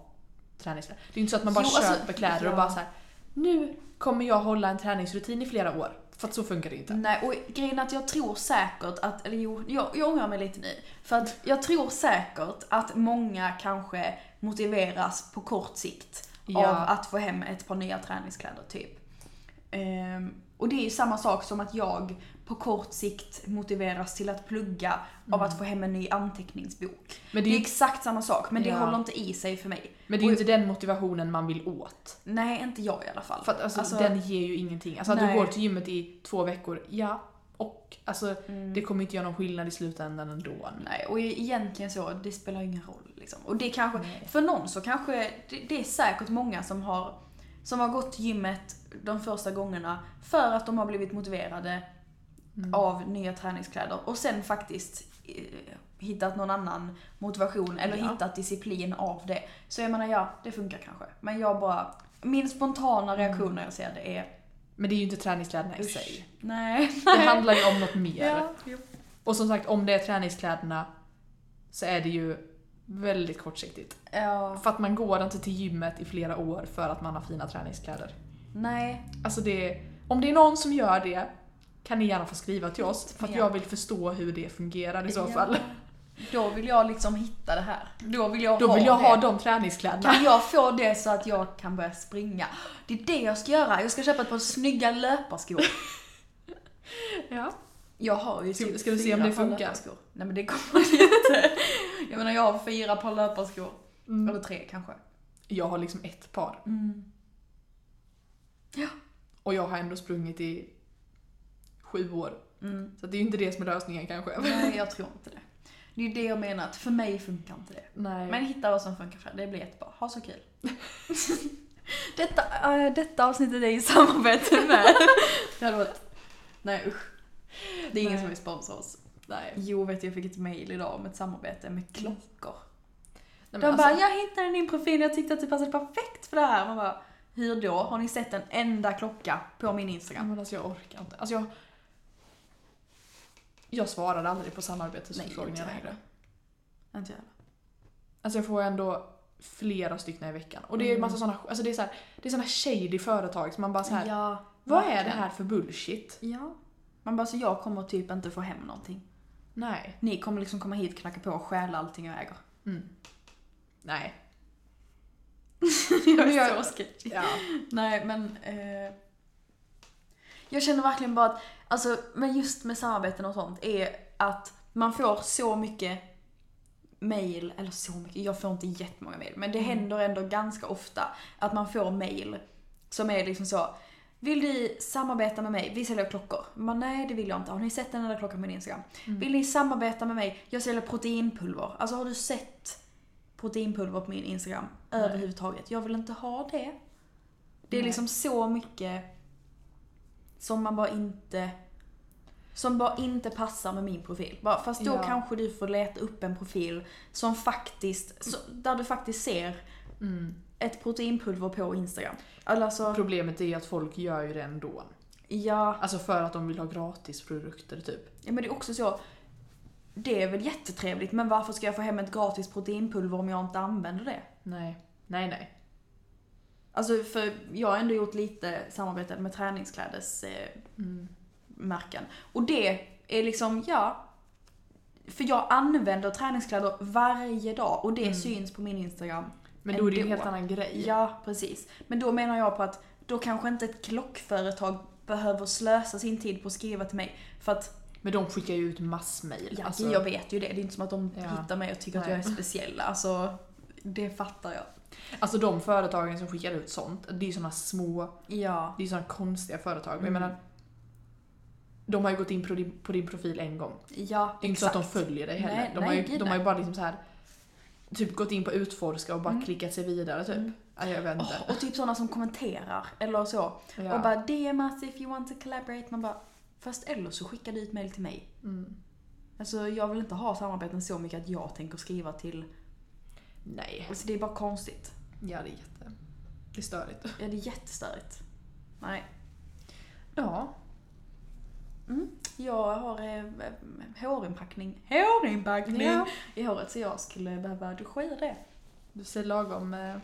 [SPEAKER 2] träningskläder. Det är ju inte så att man bara
[SPEAKER 1] Jo,
[SPEAKER 2] köper
[SPEAKER 1] alltså,
[SPEAKER 2] kläder
[SPEAKER 1] ja.
[SPEAKER 2] och bara så här. nu kommer jag hålla en träningsrutin i flera år. För att så funkar det ju inte.
[SPEAKER 1] Nej, och grejen är att jag tror säkert att, eller jo, jag, jag ångrar mig lite nu. För att jag tror säkert att många kanske motiveras på kort sikt
[SPEAKER 2] Ja.
[SPEAKER 1] av att få hem ett par nya träningskläder typ. Ehm, och det är ju samma sak som att jag på kort sikt motiveras till att plugga av att få hem en ny anteckningsbok.
[SPEAKER 2] Mm. Men
[SPEAKER 1] Det
[SPEAKER 2] det är
[SPEAKER 1] är
[SPEAKER 2] ju
[SPEAKER 1] exakt samma sak, men det
[SPEAKER 2] Ja.
[SPEAKER 1] håller inte i sig för mig.
[SPEAKER 2] Men det är ju inte den motivationen man vill åt.
[SPEAKER 1] Nej, inte jag i alla fall.
[SPEAKER 2] För att alltså,
[SPEAKER 1] Alltså-
[SPEAKER 2] den ger ju ingenting. Alltså att
[SPEAKER 1] Nej.
[SPEAKER 2] du går till gymmet i två veckor, ja. Och alltså
[SPEAKER 1] Mm.
[SPEAKER 2] det kommer inte göra någon skillnad i slutändan ändå.
[SPEAKER 1] Nej, och egentligen så, det spelar ingen roll. Liksom. Och det kanske, för någon så kanske, det, det är säkert många som har, som har gått till gymmet de första gångerna för att de har blivit motiverade av nya träningskläder och sen faktiskt eh, hittat någon annan motivation eller
[SPEAKER 2] Ja.
[SPEAKER 1] hittat disciplin av det. Så jag menar, ja, det funkar kanske. Men jag bara, min spontana reaktion när jag ser det är
[SPEAKER 2] Men det är ju inte träningskläderna i
[SPEAKER 1] Mm. usch,
[SPEAKER 2] sig.
[SPEAKER 1] nej.
[SPEAKER 2] Det handlar ju om något mer.
[SPEAKER 1] Ja, jo.
[SPEAKER 2] Och som sagt, om det är träningskläderna så är det ju väldigt kortsiktigt.
[SPEAKER 1] ja,
[SPEAKER 2] För att man går inte till gymmet i flera år för att man har fina träningskläder.
[SPEAKER 1] nej.
[SPEAKER 2] Alltså det, om det är någon som gör det kan ni gärna få skriva till oss för att
[SPEAKER 1] Ja.
[SPEAKER 2] jag vill förstå hur det fungerar i så
[SPEAKER 1] Ja.
[SPEAKER 2] fall.
[SPEAKER 1] Då vill jag liksom hitta det här. Då vill jag
[SPEAKER 2] Då
[SPEAKER 1] ha
[SPEAKER 2] vill jag
[SPEAKER 1] det.
[SPEAKER 2] ha de träningskläderna.
[SPEAKER 1] Kan jag få det så att jag kan börja springa? Det är det jag ska göra. Jag ska köpa ett par snygga löparskor.
[SPEAKER 2] Ja.
[SPEAKER 1] Jag har ju
[SPEAKER 2] Ska-
[SPEAKER 1] typ
[SPEAKER 2] ska du se
[SPEAKER 1] fyra
[SPEAKER 2] om det
[SPEAKER 1] par
[SPEAKER 2] funkar?
[SPEAKER 1] löparskor. Nej men det kommer det inte. Jag menar jag har fyra par löparskor.
[SPEAKER 2] Mm.
[SPEAKER 1] Eller tre kanske.
[SPEAKER 2] Jag har liksom ett par. Och jag har ändå sprungit i sju år.
[SPEAKER 1] Mm.
[SPEAKER 2] Så det är ju inte det som är lösningen kanske.
[SPEAKER 1] Nej jag tror inte det. Det är ju det jag menar, att för mig funkar inte det.
[SPEAKER 2] Nej.
[SPEAKER 1] Men hitta vad som funkar för dig, det blir jättebra. Ha så kul. detta, eh, detta avsnittet är i samarbete med... det hade varit... Nej usch. Det är ingen
[SPEAKER 2] Nej.
[SPEAKER 1] som vill sponsra oss. Mm.
[SPEAKER 2] Nej.
[SPEAKER 1] Jo, vet du, jag fick ett mail idag om ett samarbete med klockor.
[SPEAKER 2] Nej, men
[SPEAKER 1] De
[SPEAKER 2] alltså,
[SPEAKER 1] bara, jag hittade din profil, jag tyckte att du passade perfekt för det här. Man bara, hur då? Har ni sett en enda klocka på min
[SPEAKER 2] ja,
[SPEAKER 1] Instagram?
[SPEAKER 2] men alltså jag orkar inte. Alltså jag... Jag svarade aldrig på samarbetsförfrågningar
[SPEAKER 1] Nej, inte jag.
[SPEAKER 2] längre.
[SPEAKER 1] Mm. Inte jag.
[SPEAKER 2] Alltså jag får ändå flera stycken i veckan. Och det är
[SPEAKER 1] Mm.
[SPEAKER 2] massa såna, alltså det är så här, det är såna shady företag som man bara så här.
[SPEAKER 1] Ja,
[SPEAKER 2] Vad är det
[SPEAKER 1] verkligen.
[SPEAKER 2] här för bullshit?
[SPEAKER 1] Ja. Man bara, så jag kommer typ inte få hem någonting.
[SPEAKER 2] Nej.
[SPEAKER 1] Ni kommer liksom komma hit, knacka på och stjäla allting jag äger.
[SPEAKER 2] Nej.
[SPEAKER 1] jag
[SPEAKER 2] Jag-
[SPEAKER 1] är så sketchy.
[SPEAKER 2] Ja.
[SPEAKER 1] Nej, men... Eh, jag känner verkligen bara att, alltså, men just med samarbeten och sånt är att man får så mycket mail, eller så mycket, jag får inte jättemånga mail, men det händer ändå ganska ofta att man får mail som är liksom så vill ni samarbeta med mig? Vi säljer klockor. Man, nej, det vill jag inte. Har ni sett den enda klockan på min Instagram?
[SPEAKER 2] Mm.
[SPEAKER 1] Vill ni samarbeta med mig? Jag säljer proteinpulver. Alltså har du sett proteinpulver på min Instagram överhuvudtaget? Jag vill inte ha det. Det är
[SPEAKER 2] Nej.
[SPEAKER 1] liksom så mycket som man bara inte som bara inte passar med min profil. Bara, fast då
[SPEAKER 2] Ja.
[SPEAKER 1] kanske du får leta upp en profil som faktiskt, så, där du faktiskt ser ett proteinpulver på Instagram. Eller alltså,
[SPEAKER 2] Mm. Problemet är ju att folk gör ju det ändå.
[SPEAKER 1] ja,
[SPEAKER 2] Alltså för att de vill ha gratisprodukter typ.
[SPEAKER 1] ja, men det är också så. Det är väl jättetrevligt, men varför ska jag få hem ett gratis proteinpulver om jag inte använder det?
[SPEAKER 2] Nej. Nej nej.
[SPEAKER 1] Alltså, för jag har ändå gjort lite samarbete med träningsklädes... Eh, märken. Och det är liksom, ja. För jag använder träningskläder varje dag och det syns på min Instagram.
[SPEAKER 2] Men då är det ju en
[SPEAKER 1] Ändå.
[SPEAKER 2] helt annan grej.
[SPEAKER 1] Ja, precis. Men då menar jag på att då kanske inte ett klockföretag behöver slösa sin tid på att skriva till mig. För att,
[SPEAKER 2] Men de skickar ju ut massmail.
[SPEAKER 1] ja,
[SPEAKER 2] alltså,
[SPEAKER 1] jag vet ju det. Det är inte som att de
[SPEAKER 2] Ja.
[SPEAKER 1] hittar mig och tycker att
[SPEAKER 2] Nej.
[SPEAKER 1] jag är speciell. Alltså, det fattar jag.
[SPEAKER 2] alltså de företagen som skickar ut sånt, det är ju såna små,
[SPEAKER 1] Ja.
[SPEAKER 2] det är ju såna konstiga företag. Men
[SPEAKER 1] Mm.
[SPEAKER 2] jag menar, de har ju gått in på din, på din profil en gång.
[SPEAKER 1] Ja,
[SPEAKER 2] Det är inte så att de följer dig heller.
[SPEAKER 1] Nej,
[SPEAKER 2] de, har
[SPEAKER 1] nej,
[SPEAKER 2] ju,
[SPEAKER 1] gud,
[SPEAKER 2] de har ju bara liksom så här typ gått in på utforska och bara
[SPEAKER 1] Mm.
[SPEAKER 2] klickat sig vidare typ.
[SPEAKER 1] Mm.
[SPEAKER 2] Ja, jag vet inte.
[SPEAKER 1] Åh, och typ sådana som kommenterar eller så.
[SPEAKER 2] ja.
[SPEAKER 1] Och bara DM us if you want to collaborate. Man bara, fast eller så skickar du ett mail till mig.
[SPEAKER 2] mm.
[SPEAKER 1] Alltså jag vill inte ha samarbeten så mycket att jag tänker skriva till...
[SPEAKER 2] Nej.
[SPEAKER 1] Alltså det är bara konstigt.
[SPEAKER 2] Ja, det är jätte... Det är störigt.
[SPEAKER 1] Ja, det är jättestörigt. Nej.
[SPEAKER 2] Ja.
[SPEAKER 1] Jag har eh, eh, hårinpackning. Hårinpackning!
[SPEAKER 2] Ja.
[SPEAKER 1] I håret så jag skulle behöva duscha i det.
[SPEAKER 2] Du ser lagom eh,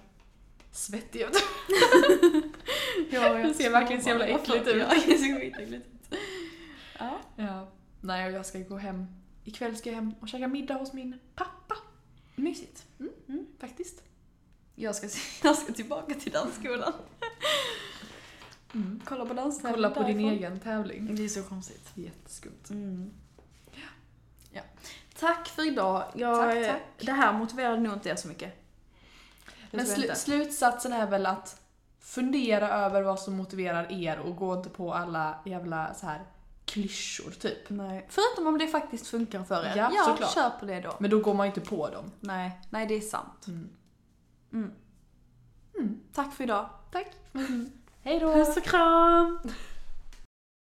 [SPEAKER 2] svettig ut.
[SPEAKER 1] Jag
[SPEAKER 2] Det ser verkligen så jävla äckligt ut.
[SPEAKER 1] Ja, det ser skitäckligt ut. Ja.
[SPEAKER 2] Ja. Nej, och jag ska gå hem. Ikväll ska jag hem och käka middag hos min pappa.
[SPEAKER 1] Mysigt.
[SPEAKER 2] Faktiskt.
[SPEAKER 1] Jag ska, jag ska tillbaka till dansskolan.
[SPEAKER 2] Mm.
[SPEAKER 1] Kolla på danstävling
[SPEAKER 2] Kolla på din
[SPEAKER 1] därifrån. Mm.
[SPEAKER 2] egen tävling.
[SPEAKER 1] Det är så konstigt.
[SPEAKER 2] Jätteskumt.
[SPEAKER 1] Ja. Tack för idag. Jag,
[SPEAKER 2] Tack,
[SPEAKER 1] Det här motiverade nog inte er så mycket. Det
[SPEAKER 2] Men
[SPEAKER 1] tror jag
[SPEAKER 2] slu-
[SPEAKER 1] inte.
[SPEAKER 2] slutsatsen är väl att fundera över vad som motiverar er och gå inte på alla jävla så här klyschor typ.
[SPEAKER 1] Nej. Förutom om det faktiskt funkar för er.
[SPEAKER 2] Ja, såklart.
[SPEAKER 1] kör på det då.
[SPEAKER 2] Men då går man ju inte på dem.
[SPEAKER 1] Nej, nej det är sant.
[SPEAKER 2] Mm.
[SPEAKER 1] Tack för idag.
[SPEAKER 2] Tack! Hej då!
[SPEAKER 1] Puss och kram!